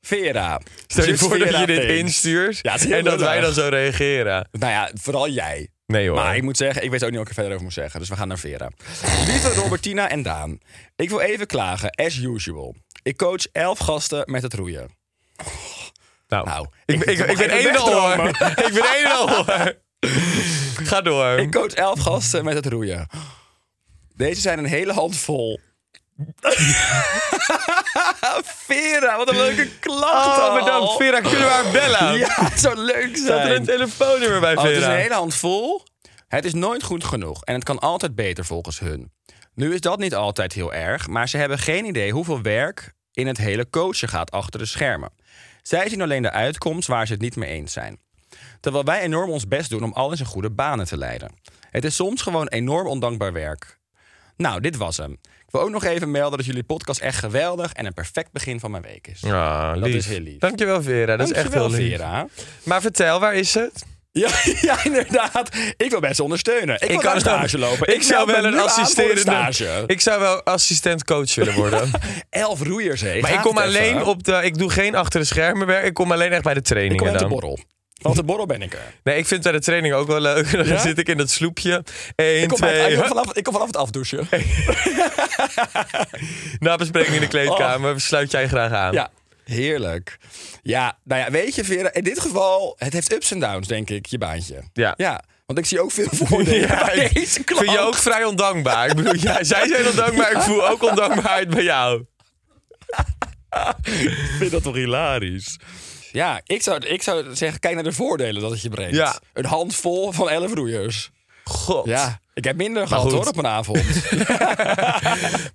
[SPEAKER 1] Vera.
[SPEAKER 2] Stel je
[SPEAKER 1] Just
[SPEAKER 2] voor dat
[SPEAKER 1] Vera
[SPEAKER 2] je dit
[SPEAKER 1] Thinks.
[SPEAKER 2] instuurt
[SPEAKER 1] Ja, het is heel
[SPEAKER 2] en dat wij dan
[SPEAKER 1] lullig.
[SPEAKER 2] zo reageren.
[SPEAKER 1] Nou ja, vooral jij.
[SPEAKER 2] Nee hoor.
[SPEAKER 1] Maar ik moet zeggen, ik weet ook niet wat ik er verder over moet zeggen. Dus we gaan naar Vera. Lieve Robertina en Daan. Ik wil even klagen, as usual. Ik coach elf gasten met het roeien.
[SPEAKER 2] nou,
[SPEAKER 1] nou, ik-
[SPEAKER 2] ik, ik, ik,
[SPEAKER 1] ik
[SPEAKER 2] ben
[SPEAKER 1] mag
[SPEAKER 2] één
[SPEAKER 1] even
[SPEAKER 2] al hoor.
[SPEAKER 1] wegdromen.
[SPEAKER 2] *laughs* Ik ben één al hoor. Ga door.
[SPEAKER 1] Ik coach elf gasten met het roeien. Deze zijn een hele
[SPEAKER 2] *laughs*
[SPEAKER 1] handvol. *laughs* Vera, wat een leuke klacht.
[SPEAKER 2] oh,
[SPEAKER 1] al.
[SPEAKER 2] bedankt. Vera, kunnen we haar bellen? *laughs*
[SPEAKER 1] Ja, zo leuk
[SPEAKER 2] Staat er
[SPEAKER 1] zijn.
[SPEAKER 2] een telefoonnummer bij
[SPEAKER 1] Oh, het is
[SPEAKER 2] Vera?
[SPEAKER 1] een hele hand vol. Het is nooit goed genoeg en het kan altijd beter volgens hun. Nu is dat niet altijd heel erg, maar ze hebben geen idee hoeveel werk in het hele coachen gaat achter de schermen. Zij zien alleen de uitkomst waar ze het niet mee eens zijn. Terwijl wij enorm ons best doen om alles in goede banen te leiden. Het is soms gewoon enorm ondankbaar werk. Nou, dit was hem. Ik wil ook nog even melden dat jullie podcast echt geweldig en een perfect begin van mijn week is.
[SPEAKER 2] Ah, lief.
[SPEAKER 1] Dat is heel lief.
[SPEAKER 2] Dankjewel Vera, dat is echt heel
[SPEAKER 1] Dankjewel,
[SPEAKER 2] lief.
[SPEAKER 1] Vera.
[SPEAKER 2] Maar vertel, waar is het?
[SPEAKER 1] Ja, *laughs* ja, inderdaad. Ik wil best ondersteunen. Ik, wil kan stage lopen.
[SPEAKER 2] Ik, zou
[SPEAKER 1] meld
[SPEAKER 2] wel
[SPEAKER 1] me
[SPEAKER 2] een
[SPEAKER 1] nu aan voor
[SPEAKER 2] assisterende.
[SPEAKER 1] stage.
[SPEAKER 2] Ik zou wel assistent
[SPEAKER 1] *laughs*
[SPEAKER 2] coach willen worden.
[SPEAKER 1] Elf roeiers, hé.
[SPEAKER 2] maar ik
[SPEAKER 1] Gaat
[SPEAKER 2] kom
[SPEAKER 1] het
[SPEAKER 2] alleen
[SPEAKER 1] even?
[SPEAKER 2] op de. Ik doe geen achter de schermen werk. Ik kom alleen echt bij de
[SPEAKER 1] Ik
[SPEAKER 2] trainingen
[SPEAKER 1] kom op de
[SPEAKER 2] dan.
[SPEAKER 1] borrel. Want de borrel ben ik er.
[SPEAKER 2] nee, ik vind bij de training ook wel leuk. *laughs* Dan
[SPEAKER 1] Ja?
[SPEAKER 2] zit ik in dat sloepje. Eén,
[SPEAKER 1] Ik kom, bij het-
[SPEAKER 2] twee.
[SPEAKER 1] ik, kom
[SPEAKER 2] hup,
[SPEAKER 1] vanaf, ik kom vanaf het
[SPEAKER 2] *laughs*
[SPEAKER 1] afdouchen.
[SPEAKER 2] Na bespreking in de kleedkamer sluit jij graag aan.
[SPEAKER 1] Oh. Ja, heerlijk. Ja, nou ja, weet je, Vera, in dit geval, het heeft ups en downs, denk ik, je baantje.
[SPEAKER 2] Ja.
[SPEAKER 1] ja want ik zie ook veel *laughs* voordelen
[SPEAKER 2] *laughs* Ja,
[SPEAKER 1] bij
[SPEAKER 2] ik
[SPEAKER 1] deze klant.
[SPEAKER 2] Vind je ook vrij ondankbaar? Ik bedoel, ja, zij zijn ondankbaar. Ik voel ook ondankbaarheid bij jou.
[SPEAKER 1] *laughs* Ik vind dat toch hilarisch? Ja, ik zou, ik zou zeggen, kijk naar de voordelen dat het je brengt.
[SPEAKER 2] Ja.
[SPEAKER 1] Een handvol van elf roeiers.
[SPEAKER 2] God.
[SPEAKER 1] Ja, ik heb minder gehad
[SPEAKER 2] goed.
[SPEAKER 1] hoor op een
[SPEAKER 2] *laughs*
[SPEAKER 1] avond.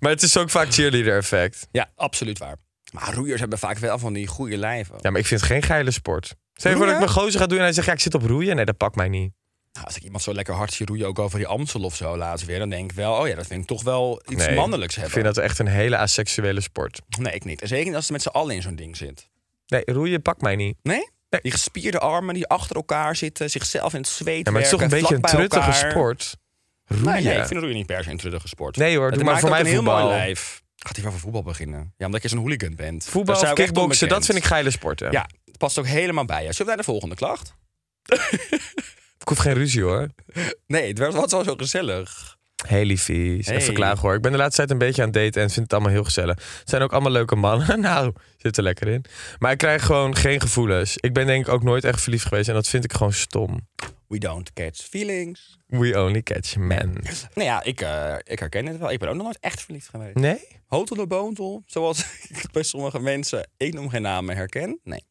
[SPEAKER 2] Maar het is ook vaak cheerleader effect.
[SPEAKER 1] ja, absoluut waar. Maar roeiers hebben vaak wel van die goede lijven.
[SPEAKER 2] Ja, maar ik vind het geen geile sport. Stel je voor dat ik mijn
[SPEAKER 1] Roeien?
[SPEAKER 2] gozer ga doen en hij zegt, ja, ik zit op roeien. Nee, dat pakt mij niet.
[SPEAKER 1] Nou, als ik iemand zo lekker hard zie roeien, ook over die Amstel of zo laatst weer, dan denk ik wel, oh ja, dat vind ik toch wel iets
[SPEAKER 2] Nee,
[SPEAKER 1] mannelijks hebben.
[SPEAKER 2] Ik vind dat echt een hele asexuele sport.
[SPEAKER 1] Nee, ik niet. En zeker niet als ze met z'n allen in zo'n ding zit.
[SPEAKER 2] Nee, roeien pakt mij niet.
[SPEAKER 1] Nee? Die gespierde armen die achter elkaar zitten, zichzelf in het zweet
[SPEAKER 2] Ja, maar het is toch een
[SPEAKER 1] werken,
[SPEAKER 2] beetje een
[SPEAKER 1] vlak bij
[SPEAKER 2] truttige
[SPEAKER 1] elkaar.
[SPEAKER 2] sport. Roeien.
[SPEAKER 1] Nee, nee, ik vind roeien niet per se een truttige sport.
[SPEAKER 2] Nee hoor,
[SPEAKER 1] Het
[SPEAKER 2] doe maar
[SPEAKER 1] maakt
[SPEAKER 2] voor
[SPEAKER 1] ook
[SPEAKER 2] mij
[SPEAKER 1] een heel
[SPEAKER 2] voetbal.
[SPEAKER 1] mooi lijf. Gaat hij wel voor voetbal beginnen? Ja, omdat je zo'n hooligan bent.
[SPEAKER 2] Voetbal
[SPEAKER 1] Daar
[SPEAKER 2] of
[SPEAKER 1] sta ik echt
[SPEAKER 2] kickboksen, dat
[SPEAKER 1] onbekend.
[SPEAKER 2] vind ik geile sporten.
[SPEAKER 1] Ja, het past ook helemaal bij je. Zullen we naar de volgende klacht?
[SPEAKER 2] Ik hoef geen ruzie hoor.
[SPEAKER 1] Nee, het werd- was wel zo gezellig.
[SPEAKER 2] Hey liefies.
[SPEAKER 1] Hey.
[SPEAKER 2] Even klagen hoor. Ik ben de laatste tijd een beetje aan het daten en vind het allemaal heel gezellig. Het zijn ook allemaal leuke mannen. *laughs* Nou, zit er lekker in. Maar ik krijg gewoon geen gevoelens. Ik ben denk ik ook nooit echt verliefd geweest en dat vind ik gewoon stom.
[SPEAKER 1] We don't catch feelings.
[SPEAKER 2] We only catch men.
[SPEAKER 1] Nou ja, ik, eh, ik herken het wel. Ik ben ook nog nooit echt verliefd geweest.
[SPEAKER 2] Nee?
[SPEAKER 1] Hotel de boontel, zoals *laughs* ik bij sommige mensen, ik noem geen namen, herken. Nee,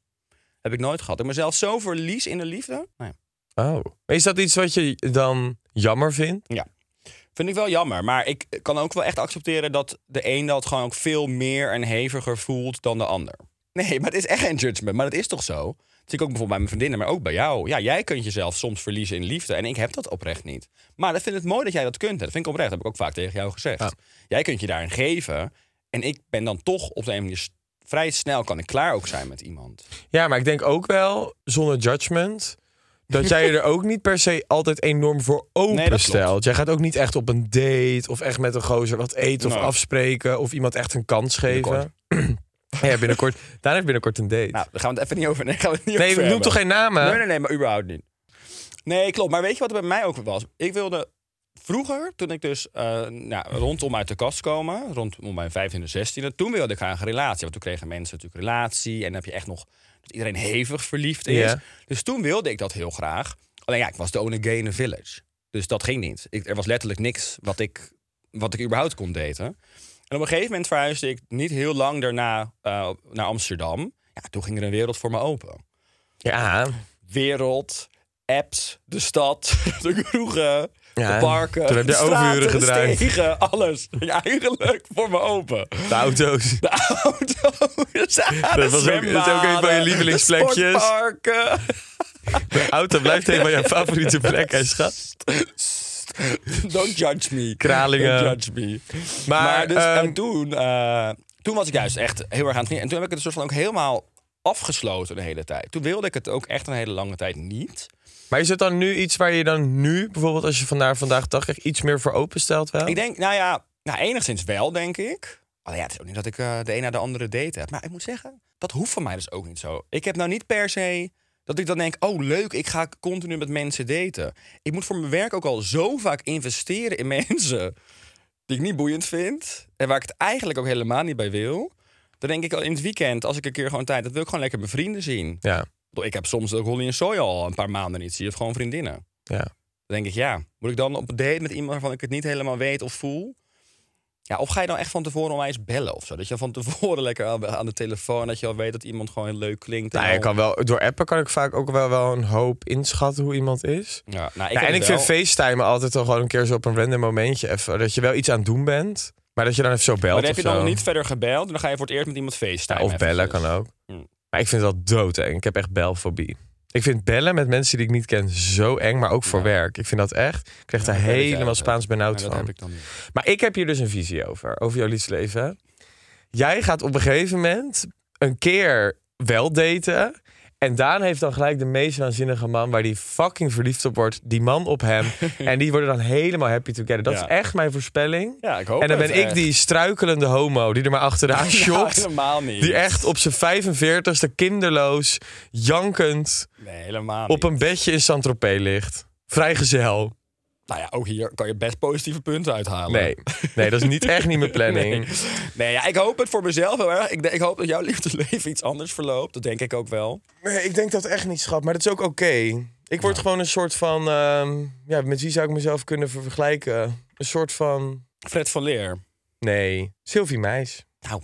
[SPEAKER 1] heb ik nooit gehad. Ik mezelf zo verlies in de liefde. Nou Nee.
[SPEAKER 2] Oh. Maar is dat iets wat je dan jammer vindt?
[SPEAKER 1] Vind ik wel jammer, maar ik kan ook wel echt accepteren dat de een dat gewoon ook veel meer en heviger voelt dan de ander. Nee, maar het is echt geen judgment, maar dat is toch zo? Dat zie ik ook bijvoorbeeld bij mijn vriendinnen, maar ook bij jou. Ja, jij kunt jezelf soms verliezen in liefde en ik heb dat oprecht niet. Maar dat vind ik mooi dat jij dat kunt. hè. Dat vind ik oprecht, dat heb ik ook vaak tegen jou gezegd.
[SPEAKER 2] Ja.
[SPEAKER 1] Jij kunt je daarin geven en ik ben dan toch op de een of andere manier s- vrij snel kan ik klaar ook zijn met iemand.
[SPEAKER 2] Ja, maar ik denk ook wel, zonder judgment, dat jij je er ook niet per se altijd
[SPEAKER 1] *laughs*
[SPEAKER 2] enorm voor
[SPEAKER 1] dat
[SPEAKER 2] open
[SPEAKER 1] klopt.
[SPEAKER 2] stelt. jij gaat ook niet echt op een date of echt met een gozer wat eten of
[SPEAKER 1] Nee.
[SPEAKER 2] afspreken of iemand echt een kans geven.
[SPEAKER 1] Binnenkort.
[SPEAKER 2] *clears throat* ja, binnenkort. Daar heeft binnenkort een date.
[SPEAKER 1] Nou, daar gaan we het even niet over. Nee, gaan we het niet
[SPEAKER 2] nee,
[SPEAKER 1] over
[SPEAKER 2] noem
[SPEAKER 1] hebben.
[SPEAKER 2] toch geen namen?
[SPEAKER 1] Nee, nee, nee, maar überhaupt niet. Nee, klopt. Maar weet je wat er bij mij ook was? Ik wilde vroeger, toen ik dus eh, nou, rondom uit de kast komen, rondom mijn 15e, 16e, toen wilde ik graag een relatie. Want toen kregen mensen natuurlijk relatie en dan heb je echt nog dat iedereen hevig verliefd is.
[SPEAKER 2] Ja.
[SPEAKER 1] Dus toen wilde ik dat heel graag. Alleen ja, ik was de only gay in the village. Dus dat ging niet. Ik, er was letterlijk niks wat ik, wat ik überhaupt kon daten. En op een gegeven moment verhuisde ik niet heel lang daarna eh, naar Amsterdam. Ja, toen ging er een wereld voor me open
[SPEAKER 2] Ja,
[SPEAKER 1] wereld, apps, *laughs* de stad, de kroegen.
[SPEAKER 2] Ja,
[SPEAKER 1] de parken,
[SPEAKER 2] toen heb je
[SPEAKER 1] de
[SPEAKER 2] overuren
[SPEAKER 1] straten, de
[SPEAKER 2] gedraaid.
[SPEAKER 1] stegen, alles. *laughs* ging Eigenlijk voor me open.
[SPEAKER 2] De
[SPEAKER 1] *laughs*
[SPEAKER 2] auto's.
[SPEAKER 1] De auto's, de
[SPEAKER 2] was ook- dat is ook een van je
[SPEAKER 1] zwembaden,
[SPEAKER 2] lievelingsplekjes.
[SPEAKER 1] de sportparken. *laughs*
[SPEAKER 2] De auto blijft een van jouw favoriete plekken,
[SPEAKER 1] *laughs*
[SPEAKER 2] hè, schat.
[SPEAKER 1] Don't judge me.
[SPEAKER 2] Kralingen.
[SPEAKER 1] Don't judge me. Maar,
[SPEAKER 2] Maar,
[SPEAKER 1] dus, eh,
[SPEAKER 2] ehm,
[SPEAKER 1] toen, eh, toen was ik juist echt heel erg aan het genieten. En toen heb ik het soort van ook helemaal afgesloten de hele tijd. Toen wilde ik het ook echt een hele lange tijd niet.
[SPEAKER 2] Maar is het dan nu iets waar je dan nu, bijvoorbeeld als je vandaag vandaag de dag echt iets meer voor openstelt wel?
[SPEAKER 1] Ik denk, nou ja, nou, enigszins wel, denk ik. Alleen ja, het is ook niet dat ik eh, de een na de andere date heb. Maar ik moet zeggen, dat hoeft van mij dus ook niet zo. Ik heb nou niet per se dat ik dan denk, oh leuk, ik ga continu met mensen daten. Ik moet voor mijn werk ook al zo vaak investeren in *laughs* mensen die ik niet boeiend vind. En waar ik het eigenlijk ook helemaal niet bij wil. Dan denk ik al in het weekend, als ik een keer gewoon tijd heb, wil ik gewoon lekker mijn vrienden zien.
[SPEAKER 2] Ja,
[SPEAKER 1] Ik heb soms ook Holly en Soy al een paar maanden niet zien, of gewoon vriendinnen.
[SPEAKER 2] ja.
[SPEAKER 1] Dan denk ik, ja, moet ik dan op een date met iemand waarvan ik het niet helemaal weet of voel? Ja, of ga je dan echt van tevoren onwijs bellen of zo? Dat je van tevoren *laughs* lekker al aan de telefoon, dat je al weet dat iemand gewoon heel leuk klinkt. en
[SPEAKER 2] Nou, je
[SPEAKER 1] al-
[SPEAKER 2] kan wel, door appen kan ik vaak ook wel, wel een hoop inschatten hoe iemand is.
[SPEAKER 1] Ja, nou, ik
[SPEAKER 2] ja,
[SPEAKER 1] heb
[SPEAKER 2] en
[SPEAKER 1] het
[SPEAKER 2] ik vind
[SPEAKER 1] wel.
[SPEAKER 2] FaceTime altijd al gewoon een keer zo op een random momentje. Even, dat je wel iets aan het doen bent, maar dat je dan even zo belt
[SPEAKER 1] Maar dan heb
[SPEAKER 2] of
[SPEAKER 1] je dan
[SPEAKER 2] zo.
[SPEAKER 1] nog niet verder gebeld en dan ga je voor het eerst met iemand
[SPEAKER 2] Ja,
[SPEAKER 1] facetimen.
[SPEAKER 2] of bellen
[SPEAKER 1] eventjes.
[SPEAKER 2] kan ook.
[SPEAKER 1] Hm.
[SPEAKER 2] Maar ik vind dat doodeng. Ik heb echt belfobie. Ik vind bellen met mensen die ik niet ken zo eng, maar ook voor
[SPEAKER 1] Ja.
[SPEAKER 2] werk. Ik vind dat echt. Ik krijg daar
[SPEAKER 1] Ja, dat weet jij
[SPEAKER 2] helemaal
[SPEAKER 1] ook.
[SPEAKER 2] Spaans benauwd
[SPEAKER 1] Ja, dat
[SPEAKER 2] van.
[SPEAKER 1] heb ik dan
[SPEAKER 2] *laughs*
[SPEAKER 1] niet.
[SPEAKER 2] Maar ik heb hier dus een visie over, over jouw liefdesleven. Jij gaat op een gegeven moment een keer wel daten. En Daan heeft dan gelijk de meest waanzinnige man waar die fucking verliefd op wordt. Die man op
[SPEAKER 1] *laughs*
[SPEAKER 2] hem. en die worden dan helemaal happy together. Dat
[SPEAKER 1] Ja.
[SPEAKER 2] is echt mijn voorspelling.
[SPEAKER 1] Ja, ik hoop
[SPEAKER 2] en dan
[SPEAKER 1] het
[SPEAKER 2] ben ik
[SPEAKER 1] echt.
[SPEAKER 2] die struikelende homo die er maar
[SPEAKER 1] *laughs*
[SPEAKER 2] achteraan
[SPEAKER 1] Ja,
[SPEAKER 2] shopt.
[SPEAKER 1] helemaal niet.
[SPEAKER 2] die echt op zijn 45ste kinderloos, jankend,
[SPEAKER 1] Nee, helemaal
[SPEAKER 2] op
[SPEAKER 1] niet.
[SPEAKER 2] een bedje in Saint-Tropez ligt. Vrijgezel.
[SPEAKER 1] Nou ja, ook hier kan je best positieve punten uithalen.
[SPEAKER 2] Nee, nee dat is niet, echt niet
[SPEAKER 1] *laughs*
[SPEAKER 2] mijn planning.
[SPEAKER 1] Nee, ja, ik hoop het voor mezelf heel erg. Ik, denk- ik hoop dat jouw *laughs* liefdesleven iets anders verloopt. Dat denk ik ook wel.
[SPEAKER 2] Nee, ik denk dat echt niet, schat. Maar dat is ook oké. Ik word gewoon een soort van... ehm, ja, met wie zou ik mezelf kunnen ver- vergelijken? Een soort van...
[SPEAKER 1] Fred van Leer.
[SPEAKER 2] Nee, Sylvie Meis.
[SPEAKER 1] Nou, nou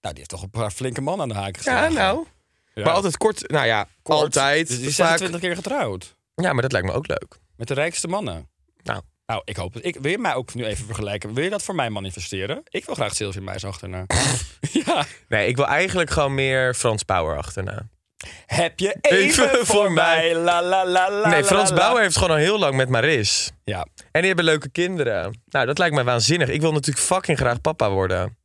[SPEAKER 1] die heeft toch een paar flinke mannen aan de haak
[SPEAKER 2] Ja,
[SPEAKER 1] geslagen.
[SPEAKER 2] nou.
[SPEAKER 1] Ja.
[SPEAKER 2] Maar altijd kort. Nou ja,
[SPEAKER 1] Kort.
[SPEAKER 2] altijd.
[SPEAKER 1] Dus die is
[SPEAKER 2] vaak.
[SPEAKER 1] 26 keer getrouwd.
[SPEAKER 2] Ja, maar dat lijkt me ook leuk.
[SPEAKER 1] Met de rijkste mannen.
[SPEAKER 2] Nou.
[SPEAKER 1] Nou, ik hoop het. Ik, wil je mij ook nu even vergelijken? Wil je dat voor mij manifesteren? Ik wil graag Sylvie Meijs
[SPEAKER 2] *laughs*
[SPEAKER 1] achterna. ja.
[SPEAKER 2] Nee, ik wil eigenlijk gewoon meer Frans Bauer achterna.
[SPEAKER 1] Heb je even, voor
[SPEAKER 2] Even voor
[SPEAKER 1] mij? La, la, la, la,
[SPEAKER 2] nee,
[SPEAKER 1] la,
[SPEAKER 2] Frans
[SPEAKER 1] la.
[SPEAKER 2] Bauer heeft gewoon al heel lang met Maris.
[SPEAKER 1] Ja.
[SPEAKER 2] En die hebben leuke kinderen. Nou, dat lijkt me waanzinnig. Ik wil natuurlijk fucking graag papa worden.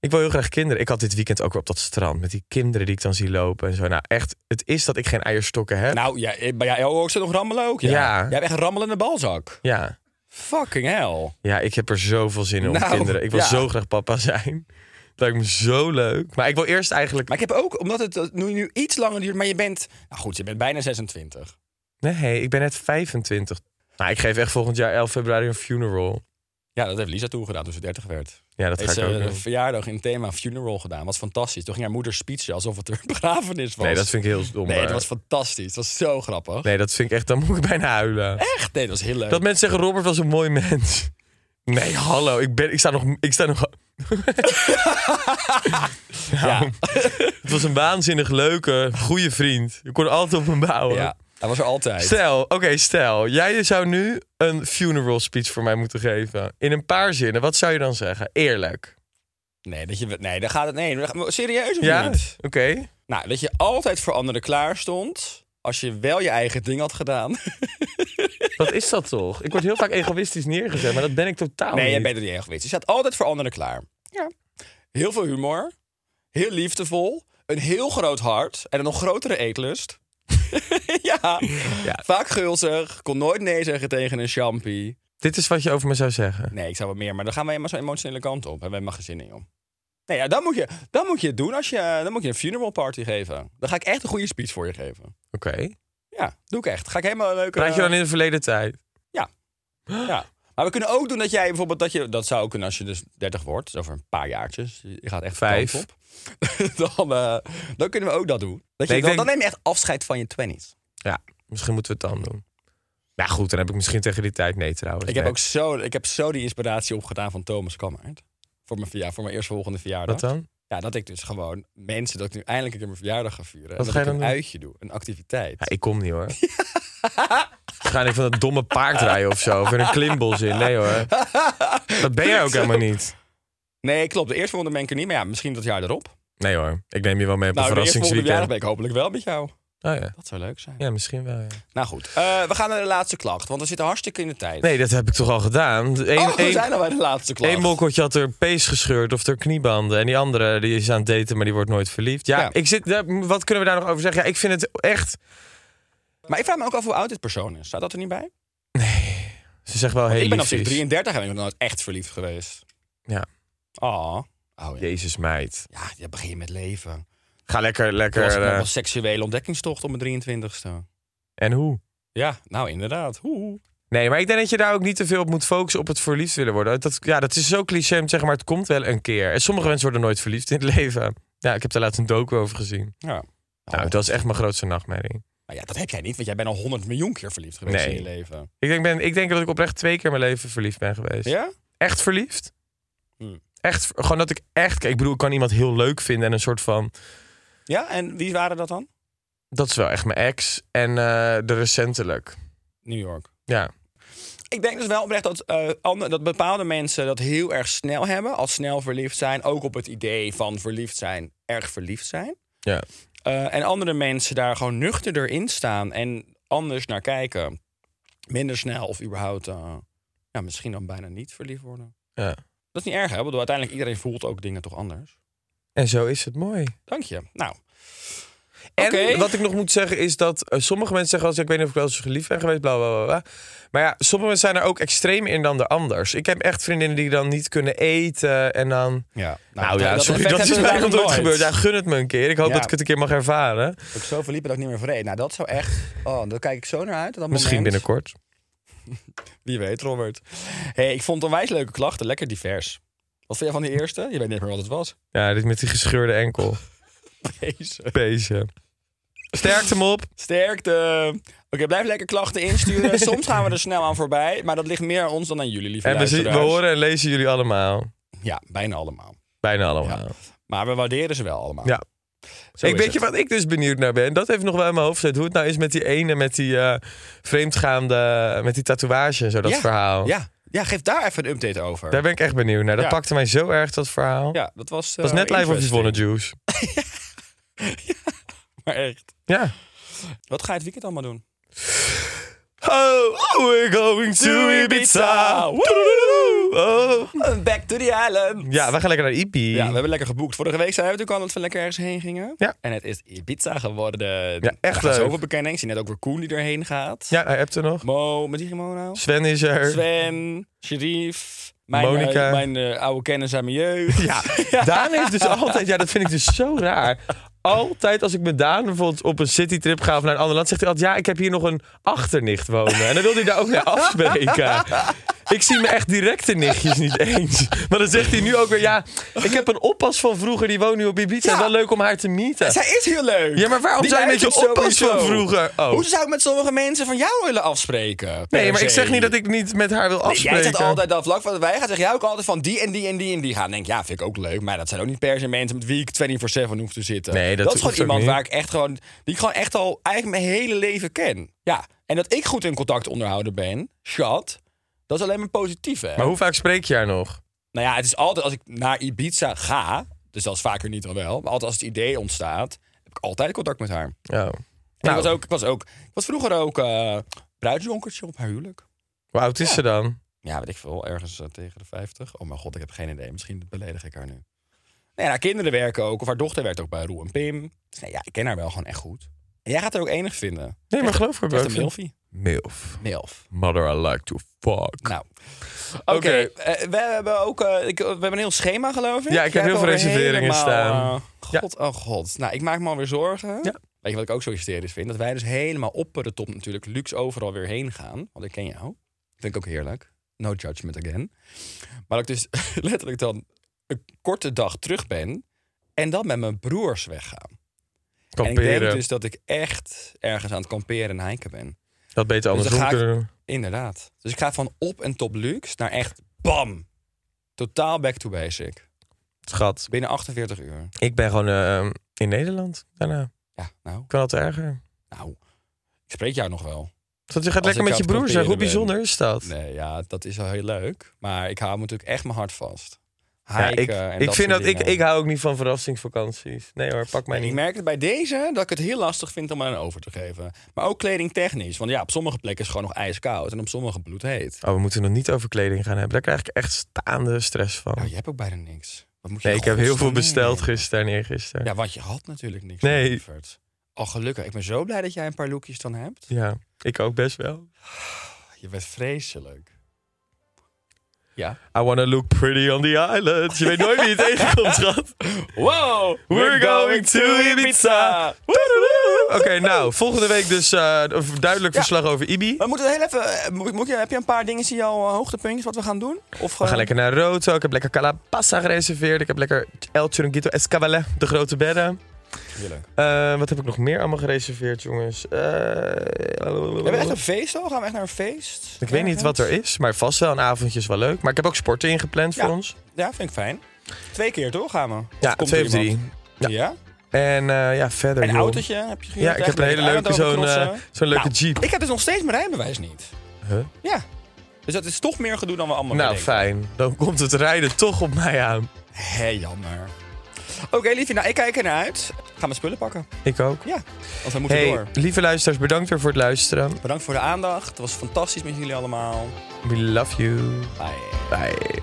[SPEAKER 2] Ik wil heel graag kinderen. Ik had dit weekend ook weer op dat strand met die kinderen die ik dan zie lopen en zo. Nou, echt, het is dat ik geen eierstokken heb.
[SPEAKER 1] Nou, ja, bij jou ook zit nog rammelen ook. Ja.
[SPEAKER 2] Ja.
[SPEAKER 1] Jij hebt echt een rammelende balzak.
[SPEAKER 2] Ja.
[SPEAKER 1] Fucking hell.
[SPEAKER 2] ja, ik heb er zoveel zin in om
[SPEAKER 1] Nou,
[SPEAKER 2] kinderen. Ik wil
[SPEAKER 1] ja.
[SPEAKER 2] zo graag papa zijn. Dat lijkt me zo leuk. Maar ik wil eerst eigenlijk...
[SPEAKER 1] Maar ik heb ook, omdat het eh, nu, nu iets langer duurt, maar je bent... Nou goed, je bent bijna 26.
[SPEAKER 2] Nee, ik ben net 25. Nou, ik geef echt volgend jaar 11 februari een funeral.
[SPEAKER 1] Ja, dat heeft Lisa toegedaan toen ze 30 werd.
[SPEAKER 2] Ja, dat ga
[SPEAKER 1] Heeft
[SPEAKER 2] ik
[SPEAKER 1] ze
[SPEAKER 2] ook
[SPEAKER 1] een
[SPEAKER 2] doen.
[SPEAKER 1] verjaardag in het thema funeral gedaan. Was fantastisch. Toen ging haar moeder speechen alsof het een *laughs* begrafenis was.
[SPEAKER 2] Nee, dat vind ik heel stom.
[SPEAKER 1] Nee,
[SPEAKER 2] maar-
[SPEAKER 1] dat was fantastisch. Dat was zo grappig.
[SPEAKER 2] nee, dat vind ik echt... Dan moet ik bijna huilen.
[SPEAKER 1] Echt? Nee, dat was heel leuk.
[SPEAKER 2] Dat mensen zeggen, Robert was een mooi mens. Nee, hallo. Ik, ben, ik sta nog... Ik sta nog
[SPEAKER 1] ja.
[SPEAKER 2] het was een waanzinnig leuke, goede vriend. Je kon altijd op hem bouwen.
[SPEAKER 1] ja, dat was er altijd.
[SPEAKER 2] Stel, oké, stel. Jij zou nu een funeral speech voor mij moeten geven. In een paar zinnen. Wat zou je dan zeggen? Eerlijk.
[SPEAKER 1] Nee, dat je, nee, daar gaat het... Nee, maar serieus of
[SPEAKER 2] Ja?
[SPEAKER 1] niet?
[SPEAKER 2] Oké.
[SPEAKER 1] Nou, dat je altijd voor anderen klaar stond... als je wel je eigen ding had gedaan.
[SPEAKER 2] Wat is dat toch? Ik word heel vaak egoïstisch neergezet, maar dat ben ik totaal
[SPEAKER 1] nee,
[SPEAKER 2] niet.
[SPEAKER 1] jij bent er niet echt geweest. Je staat altijd voor anderen klaar. Ja. Heel veel humor. Heel liefdevol. Een heel groot hart. En een nog grotere eetlust. *laughs* ja.
[SPEAKER 2] Ja.
[SPEAKER 1] Vaak gulzig. Kon nooit nee zeggen tegen een champie.
[SPEAKER 2] Dit is wat je over me zou zeggen.
[SPEAKER 1] Nee, ik zou wat meer. Maar dan gaan we helemaal zo'n emotionele kant op. En we hebben geen zin in, joh. Nee, ja, dan, moet je, dan moet je het doen. Als je, dan moet je een funeral party geven. Dan ga ik echt een goede speech voor je geven.
[SPEAKER 2] Oké.
[SPEAKER 1] Ja, doe ik echt. Ga ik helemaal een leuke...
[SPEAKER 2] Praat je dan in de verleden tijd?
[SPEAKER 1] Ja. Maar we kunnen ook doen dat jij bijvoorbeeld dat je dat zou ook kunnen als je dus 30 wordt, dus over een paar jaartjes. Je gaat echt
[SPEAKER 2] Vijf.
[SPEAKER 1] kant op. *laughs* dan, eh, dan kunnen we ook dat doen. Dat je,
[SPEAKER 2] Nee, ik
[SPEAKER 1] dan,
[SPEAKER 2] denk-
[SPEAKER 1] dan neem je echt afscheid van je twenties.
[SPEAKER 2] Ja, misschien moeten we het dan doen. Nou goed, dan heb ik misschien tegen die tijd nee trouwens.
[SPEAKER 1] Ik heb
[SPEAKER 2] Nee.
[SPEAKER 1] ook zo, ik heb zo die inspiratie opgedaan van Thomas Kammaert. Voor mijn, verja- voor mijn eerstvolgende verjaardag.
[SPEAKER 2] Wat eh? dan?
[SPEAKER 1] Ja, dat ik dus gewoon mensen, dat ik nu eindelijk een keer mijn verjaardag ga vieren. en
[SPEAKER 2] Wat
[SPEAKER 1] dat
[SPEAKER 2] ga
[SPEAKER 1] ik
[SPEAKER 2] je
[SPEAKER 1] een
[SPEAKER 2] dan doen? *laughs*
[SPEAKER 1] uitje doe, een activiteit.
[SPEAKER 2] Ja, ik kom niet hoor. Waarschijnlijk van dat domme paardrijden of zo. Of er een klimbos in. Nee hoor. Dat ben jij ook helemaal niet.
[SPEAKER 1] Nee, klopt. De eerste volgende ben ik er niet. Maar ja, misschien dat jaar erop.
[SPEAKER 2] Nee hoor. Ik neem je wel mee op een
[SPEAKER 1] Nou, de eerste volgende
[SPEAKER 2] verrassingsweekend.
[SPEAKER 1] verjaardag ben ik hopelijk wel met jou.
[SPEAKER 2] Oh ja.
[SPEAKER 1] Dat zou leuk zijn.
[SPEAKER 2] Ja, misschien wel. Ja.
[SPEAKER 1] Nou goed, eh, we gaan naar de laatste klacht. Want we zitten hartstikke in de tijd.
[SPEAKER 2] Nee, dat heb ik toch al gedaan. Eén,
[SPEAKER 1] oh, we
[SPEAKER 2] één-
[SPEAKER 1] zijn al bij de laatste klacht.
[SPEAKER 2] Eén mokkeltje had er pees gescheurd of er kniebanden. En die andere die is aan het daten, maar die wordt nooit verliefd. Ja,
[SPEAKER 1] Ja.
[SPEAKER 2] Ik zit, daar- wat kunnen we daar nog over zeggen? Ja, ik vind het echt...
[SPEAKER 1] Maar ik vraag me ook af hoe oud dit persoon is. Staat dat er niet bij?
[SPEAKER 2] Ze zegt wel heel
[SPEAKER 1] ik ben op
[SPEAKER 2] lief
[SPEAKER 1] zich
[SPEAKER 2] is.
[SPEAKER 1] 33 en ben ik nog nooit echt verliefd geweest.
[SPEAKER 2] Ja.
[SPEAKER 1] Oh. oh ja.
[SPEAKER 2] Jezus meid.
[SPEAKER 1] ja, je begint met leven.
[SPEAKER 2] Ga lekker,
[SPEAKER 1] Er was
[SPEAKER 2] lekker...
[SPEAKER 1] nog
[SPEAKER 2] eh,
[SPEAKER 1] een seksuele ontdekkingstocht op mijn 23ste.
[SPEAKER 2] en hoe?
[SPEAKER 1] Ja, nou inderdaad. Hoe?
[SPEAKER 2] Nee, maar ik denk dat je daar ook niet te veel op moet focussen op het verliefd willen worden. Dat, ja, dat is zo cliché om te zeggen, maar het komt wel een keer. En sommige mensen worden nooit verliefd in het *laughs* leven. Ja, ik heb daar laatst een docu over gezien.
[SPEAKER 1] Ja.
[SPEAKER 2] Nou, dat is echt mijn grootste nachtmerrie.
[SPEAKER 1] Nou Oh. ja, dat heb jij niet, want jij bent al 100 miljoen keer verliefd geweest
[SPEAKER 2] Nee.
[SPEAKER 1] in je leven.
[SPEAKER 2] Ik denk, ben, ik denk dat ik oprecht twee keer in mijn leven verliefd ben geweest.
[SPEAKER 1] Ja?
[SPEAKER 2] echt verliefd. Hm.
[SPEAKER 1] Hmm.
[SPEAKER 2] Echt, gewoon dat ik echt... Ik bedoel, ik kan iemand heel leuk vinden en een soort van...
[SPEAKER 1] Ja, en wie waren dat dan?
[SPEAKER 2] Dat is wel echt mijn ex. En eh, de recentelijk.
[SPEAKER 1] New York.
[SPEAKER 2] Ja.
[SPEAKER 1] Ik denk dus wel oprecht dat, eh, ander- dat bepaalde mensen dat heel erg snel hebben. Als snel verliefd zijn. Ook op het idee van verliefd zijn, erg verliefd zijn.
[SPEAKER 2] ja.
[SPEAKER 1] Eh, en andere mensen daar gewoon nuchterder in staan. En anders naar kijken. Minder snel of überhaupt eh, ja, misschien dan bijna niet verliefd worden.
[SPEAKER 2] ja.
[SPEAKER 1] Dat is niet erg, hè? Want uiteindelijk iedereen voelt ook dingen toch anders.
[SPEAKER 2] En zo is het mooi.
[SPEAKER 1] Dank je. Nou,
[SPEAKER 2] En
[SPEAKER 1] Oké.
[SPEAKER 2] wat ik nog moet zeggen is dat eh, sommige mensen zeggen... Als, ik weet niet of ik wel eens geliefd ben geweest, bla, bla, bla, bla. Maar ja, sommige mensen zijn er ook extreem in dan de anders. Ik heb echt vriendinnen die dan niet kunnen eten en dan...
[SPEAKER 1] ja.
[SPEAKER 2] Nou, ja, sorry, dat is mij nog nooit gebeurd. Ja, gun het me een keer. Ik hoop
[SPEAKER 1] Ja.
[SPEAKER 2] dat ik het een keer mag ervaren.
[SPEAKER 1] Ik zo verliep en ook niet meer vreed. Nou, dat zou echt... Oh, daar kijk ik zo naar uit. Dat
[SPEAKER 2] Misschien
[SPEAKER 1] moment.
[SPEAKER 2] binnenkort.
[SPEAKER 1] Wie weet, Robert. hey, ik vond het onwijs leuke klachten. Lekker divers. Wat vind jij van die eerste? Je weet niet meer wat het was. *laughs*
[SPEAKER 2] Ja, dit met die gescheurde enkel.
[SPEAKER 1] Deze.
[SPEAKER 2] Peesje. Sterkte hem op.
[SPEAKER 1] Sterkte. Oké, blijf lekker klachten
[SPEAKER 2] *laughs*
[SPEAKER 1] insturen. Soms gaan we er snel aan voorbij. Maar dat ligt meer aan ons dan aan jullie, lieve
[SPEAKER 2] En we, zien- we
[SPEAKER 1] luisteraars.
[SPEAKER 2] horen en lezen jullie allemaal.
[SPEAKER 1] Ja, bijna allemaal.
[SPEAKER 2] Bijna allemaal.
[SPEAKER 1] Maar we waarderen ze wel allemaal.
[SPEAKER 2] Ja.
[SPEAKER 1] Zo
[SPEAKER 2] ik
[SPEAKER 1] is
[SPEAKER 2] weet
[SPEAKER 1] het.
[SPEAKER 2] je wat ik dus benieuwd naar ben? Dat heeft nog wel in mijn hoofd gezet. Hoe het nou is met die ene, met die eh, vreemdgaande, met die tatoeage en zo, dat
[SPEAKER 1] Ja,
[SPEAKER 2] verhaal.
[SPEAKER 1] Ja. ja, geef daar even een update over.
[SPEAKER 2] Daar ben ik echt benieuwd naar. Dat
[SPEAKER 1] Ja.
[SPEAKER 2] pakte mij zo erg, dat verhaal.
[SPEAKER 1] Ja, eh, dat was...
[SPEAKER 2] Dat was net live op Yvonne Juice.
[SPEAKER 1] Maar echt. *laughs*
[SPEAKER 2] Ja.
[SPEAKER 1] Wat ga je het weekend allemaal doen?
[SPEAKER 2] Oh, we're going to Ibiza. Woehoe. Oh.
[SPEAKER 1] Back to the island.
[SPEAKER 2] Ja, we gaan lekker naar Ibi.
[SPEAKER 1] Ja, we hebben lekker geboekt. Vorige week zijn we natuurlijk al dat we lekker ergens heen gingen.
[SPEAKER 2] Ja.
[SPEAKER 1] En het is Ibiza geworden.
[SPEAKER 2] Ja, echt
[SPEAKER 1] Er
[SPEAKER 2] leuk.
[SPEAKER 1] zoveel bekenden. Ik zie net ook weer Koen die erheen gaat.
[SPEAKER 2] Ja, hij hebt er nog.
[SPEAKER 1] Mo, met die Mo nou?
[SPEAKER 2] Sven is er.
[SPEAKER 1] Sven, Sherif, mijn,
[SPEAKER 2] Monica.
[SPEAKER 1] eh, mijn eh, oude kennis aan mijn jeugd.
[SPEAKER 2] *laughs* Ja, Daan heeft dus altijd, ja, dat vind ik dus zo raar. Altijd als ik met Daan bijvoorbeeld op een citytrip ga of naar een ander land, zegt hij altijd: Ja, ik heb hier nog een achternicht wonen. En dan wil hij daar ook naar afspreken. Ik zie me echt directe nichtjes niet eens. Maar dan zegt hij nu ook weer: Ja, ik heb een oppas van vroeger, die woont nu op Ibiza.
[SPEAKER 1] Ja.
[SPEAKER 2] Wel leuk om haar te meeten.
[SPEAKER 1] Zij is heel leuk.
[SPEAKER 2] Ja, maar waarom
[SPEAKER 1] Die
[SPEAKER 2] zou je met
[SPEAKER 1] lijkt
[SPEAKER 2] je
[SPEAKER 1] op
[SPEAKER 2] oppas
[SPEAKER 1] sowieso?
[SPEAKER 2] van vroeger? Oh.
[SPEAKER 1] Hoe zou ik met sommige mensen van jou willen afspreken?
[SPEAKER 2] Nee,
[SPEAKER 1] per
[SPEAKER 2] maar ik
[SPEAKER 1] se?
[SPEAKER 2] zeg niet dat ik niet met haar wil
[SPEAKER 1] Nee,
[SPEAKER 2] afspreken.
[SPEAKER 1] Jij zegt altijd dat vlak van wij gaan, zeg jij ook altijd van die en die en die en die gaan. Denk ik, ja, vind ik ook leuk, maar dat zijn ook niet per se mensen met wie ik 24/7 hoef te zitten.
[SPEAKER 2] Nee, dat
[SPEAKER 1] is gewoon
[SPEAKER 2] hoeft ook
[SPEAKER 1] iemand
[SPEAKER 2] niet.
[SPEAKER 1] waar ik echt gewoon, die ik gewoon echt al eigenlijk mijn hele leven ken. Ja, en dat ik goed in contact onderhouden ben, shot, dat is alleen maar positief. Hè?
[SPEAKER 2] Maar hoe vaak spreek je haar nog? Oh.
[SPEAKER 1] Nou ja, het is altijd als ik naar Ibiza ga, dus dat is vaker niet dan wel, maar altijd als het idee ontstaat, heb ik altijd contact met haar.
[SPEAKER 2] Oh.
[SPEAKER 1] En
[SPEAKER 2] Nou.
[SPEAKER 1] ik was ook, ik was ook, ik was vroeger ook eh bruidsjonkertje op haar huwelijk.
[SPEAKER 2] Hoe oud is ze dan?
[SPEAKER 1] Ja, weet ik veel, ergens eh, tegen de 50. Oh mijn god, ik heb geen idee. Misschien beledig ik haar nu. Nee, haar kinderen werken ook, of haar dochter werkt ook bij Roe en Pim. Dus nee, ja, ik ken haar wel gewoon echt goed. En jij gaat haar ook enig vinden.
[SPEAKER 2] Nee, maar geloof ik
[SPEAKER 1] Echt
[SPEAKER 2] wel.
[SPEAKER 1] een milfie.
[SPEAKER 2] Milf.
[SPEAKER 1] Milf.
[SPEAKER 2] Mother, I like to fuck.
[SPEAKER 1] Nou. Oké, eh, we hebben ook eh, ik, we hebben een heel schema, geloof ik.
[SPEAKER 2] Ja, ik heb
[SPEAKER 1] Jij
[SPEAKER 2] heel
[SPEAKER 1] hebt
[SPEAKER 2] veel
[SPEAKER 1] alweer
[SPEAKER 2] reserveringen
[SPEAKER 1] helemaal,
[SPEAKER 2] staan.
[SPEAKER 1] eh,
[SPEAKER 2] Ja.
[SPEAKER 1] god, oh god. Nou, ik maak me alweer zorgen.
[SPEAKER 2] Ja.
[SPEAKER 1] Weet je wat ik ook zo hysterisch vind? Dat wij dus helemaal op de top natuurlijk luxe overal weer heen gaan. Want ik ken jou. Vind ik ook heerlijk. No judgment again. Maar dat ik dus *laughs* letterlijk dan een korte dag terug ben. En dan met mijn broers weggaan. En ik denk
[SPEAKER 2] Kamperen.
[SPEAKER 1] dus dat ik echt ergens aan het kamperen en hiken ben.
[SPEAKER 2] Dat beter
[SPEAKER 1] Dus dan
[SPEAKER 2] andersom
[SPEAKER 1] ga ik-
[SPEAKER 2] kunnen doen.
[SPEAKER 1] Inderdaad. Dus ik ga van op en top luxe naar echt bam. Totaal back to basic.
[SPEAKER 2] Schat,
[SPEAKER 1] Binnen 48 uur.
[SPEAKER 2] ik ben gewoon eh, in Nederland daarna.
[SPEAKER 1] Ja, nou.
[SPEAKER 2] Kan dat erger?
[SPEAKER 1] Nou, ik spreek jou nog wel.
[SPEAKER 2] Dat je gaat lekker
[SPEAKER 1] ik
[SPEAKER 2] met
[SPEAKER 1] aan
[SPEAKER 2] je
[SPEAKER 1] het
[SPEAKER 2] broer zeg. Hoe
[SPEAKER 1] proberen ben.
[SPEAKER 2] bijzonder is dat?
[SPEAKER 1] Nee, ja, dat is wel heel leuk. Maar ik hou me natuurlijk echt mijn hart vast.
[SPEAKER 2] Ja,
[SPEAKER 1] Hiken
[SPEAKER 2] ik,
[SPEAKER 1] eh, en
[SPEAKER 2] ik
[SPEAKER 1] dat
[SPEAKER 2] vind
[SPEAKER 1] soort
[SPEAKER 2] dat ik,
[SPEAKER 1] dingen.
[SPEAKER 2] ik hou ook niet van verrassingsvakanties. Nee hoor, pak mij
[SPEAKER 1] En ik
[SPEAKER 2] niet.
[SPEAKER 1] merk het bij deze dat ik het heel lastig vind om aan over te geven. Maar ook kledingtechnisch. Want ja, op sommige plekken is het gewoon nog ijskoud. En op sommige bloedheet.
[SPEAKER 2] Oh, we moeten nog niet over kleding gaan hebben. Daar krijg ik echt staande stress van.
[SPEAKER 1] Nou, je hebt ook bijna niks. Wat moet je
[SPEAKER 2] Nee,
[SPEAKER 1] in
[SPEAKER 2] ik heb heel
[SPEAKER 1] godsnaam
[SPEAKER 2] veel besteld
[SPEAKER 1] meenemen?
[SPEAKER 2] gisteren en eergisteren.
[SPEAKER 1] Ja, want je had natuurlijk niks
[SPEAKER 2] Nee.
[SPEAKER 1] geleverd. Oh, gelukkig. Ik ben zo blij dat jij een paar lookjes dan hebt.
[SPEAKER 2] Ja, ik ook best wel.
[SPEAKER 1] Je bent vreselijk. Ja.
[SPEAKER 2] I wanna look pretty on the island. Je weet
[SPEAKER 1] *laughs*
[SPEAKER 2] nooit wie je tegenkomt, schat.
[SPEAKER 1] Wow,
[SPEAKER 2] We're going to Ibiza. Oké, nou, volgende week dus eh, een duidelijk
[SPEAKER 1] Ja.
[SPEAKER 2] verslag over Ibi.
[SPEAKER 1] We moeten heel even. eh, Moet, moet je, heb je een paar dingen, zie je al eh, hoogtepuntjes wat we gaan doen? Of eh,
[SPEAKER 2] We gaan lekker naar Roto. Ik heb lekker Calabassa gereserveerd. Ik heb lekker El Chiringuito Escabalé, de grote bedden. Eh, wat heb ik nog meer allemaal gereserveerd, jongens? Eh,
[SPEAKER 1] We hebben echt een feest al? Gaan we echt naar een feest?
[SPEAKER 2] Ik weet niet wat er is, maar vast wel een avondje is wel leuk. Maar ik heb ook sporten ingepland
[SPEAKER 1] Ja.
[SPEAKER 2] voor ons.
[SPEAKER 1] Ja, vind ik fijn. Twee keer toch gaan we? Of
[SPEAKER 2] Ja,
[SPEAKER 1] komt
[SPEAKER 2] twee
[SPEAKER 1] er
[SPEAKER 2] of
[SPEAKER 1] iemand?
[SPEAKER 2] drie. Ja.
[SPEAKER 1] Ja?
[SPEAKER 2] En eh, ja, verder.
[SPEAKER 1] Een
[SPEAKER 2] joh.
[SPEAKER 1] autootje heb je gehuurd?
[SPEAKER 2] Ja, ik
[SPEAKER 1] ergens
[SPEAKER 2] heb
[SPEAKER 1] bij
[SPEAKER 2] een hele
[SPEAKER 1] het eiland
[SPEAKER 2] leuke zo'n
[SPEAKER 1] overkrossen?
[SPEAKER 2] eh, zo'n leuke
[SPEAKER 1] Nou,
[SPEAKER 2] jeep.
[SPEAKER 1] Ik heb dus nog steeds mijn rijbewijs niet.
[SPEAKER 2] Huh?
[SPEAKER 1] Ja. Dus dat is toch meer gedoe dan we allemaal
[SPEAKER 2] Nou,
[SPEAKER 1] denken.
[SPEAKER 2] fijn. Dan komt het rijden toch op mij aan.
[SPEAKER 1] Hé, jammer. Oké, liefje, nou, ik kijk ernaar uit. Ga mijn spullen pakken.
[SPEAKER 2] Ik ook.
[SPEAKER 1] Ja, want we moeten
[SPEAKER 2] Hey,
[SPEAKER 1] door.
[SPEAKER 2] lieve luisteraars, bedankt weer voor het luisteren.
[SPEAKER 1] Bedankt voor de aandacht. Het was fantastisch met jullie allemaal.
[SPEAKER 2] We love you.
[SPEAKER 1] Bye.
[SPEAKER 2] Bye.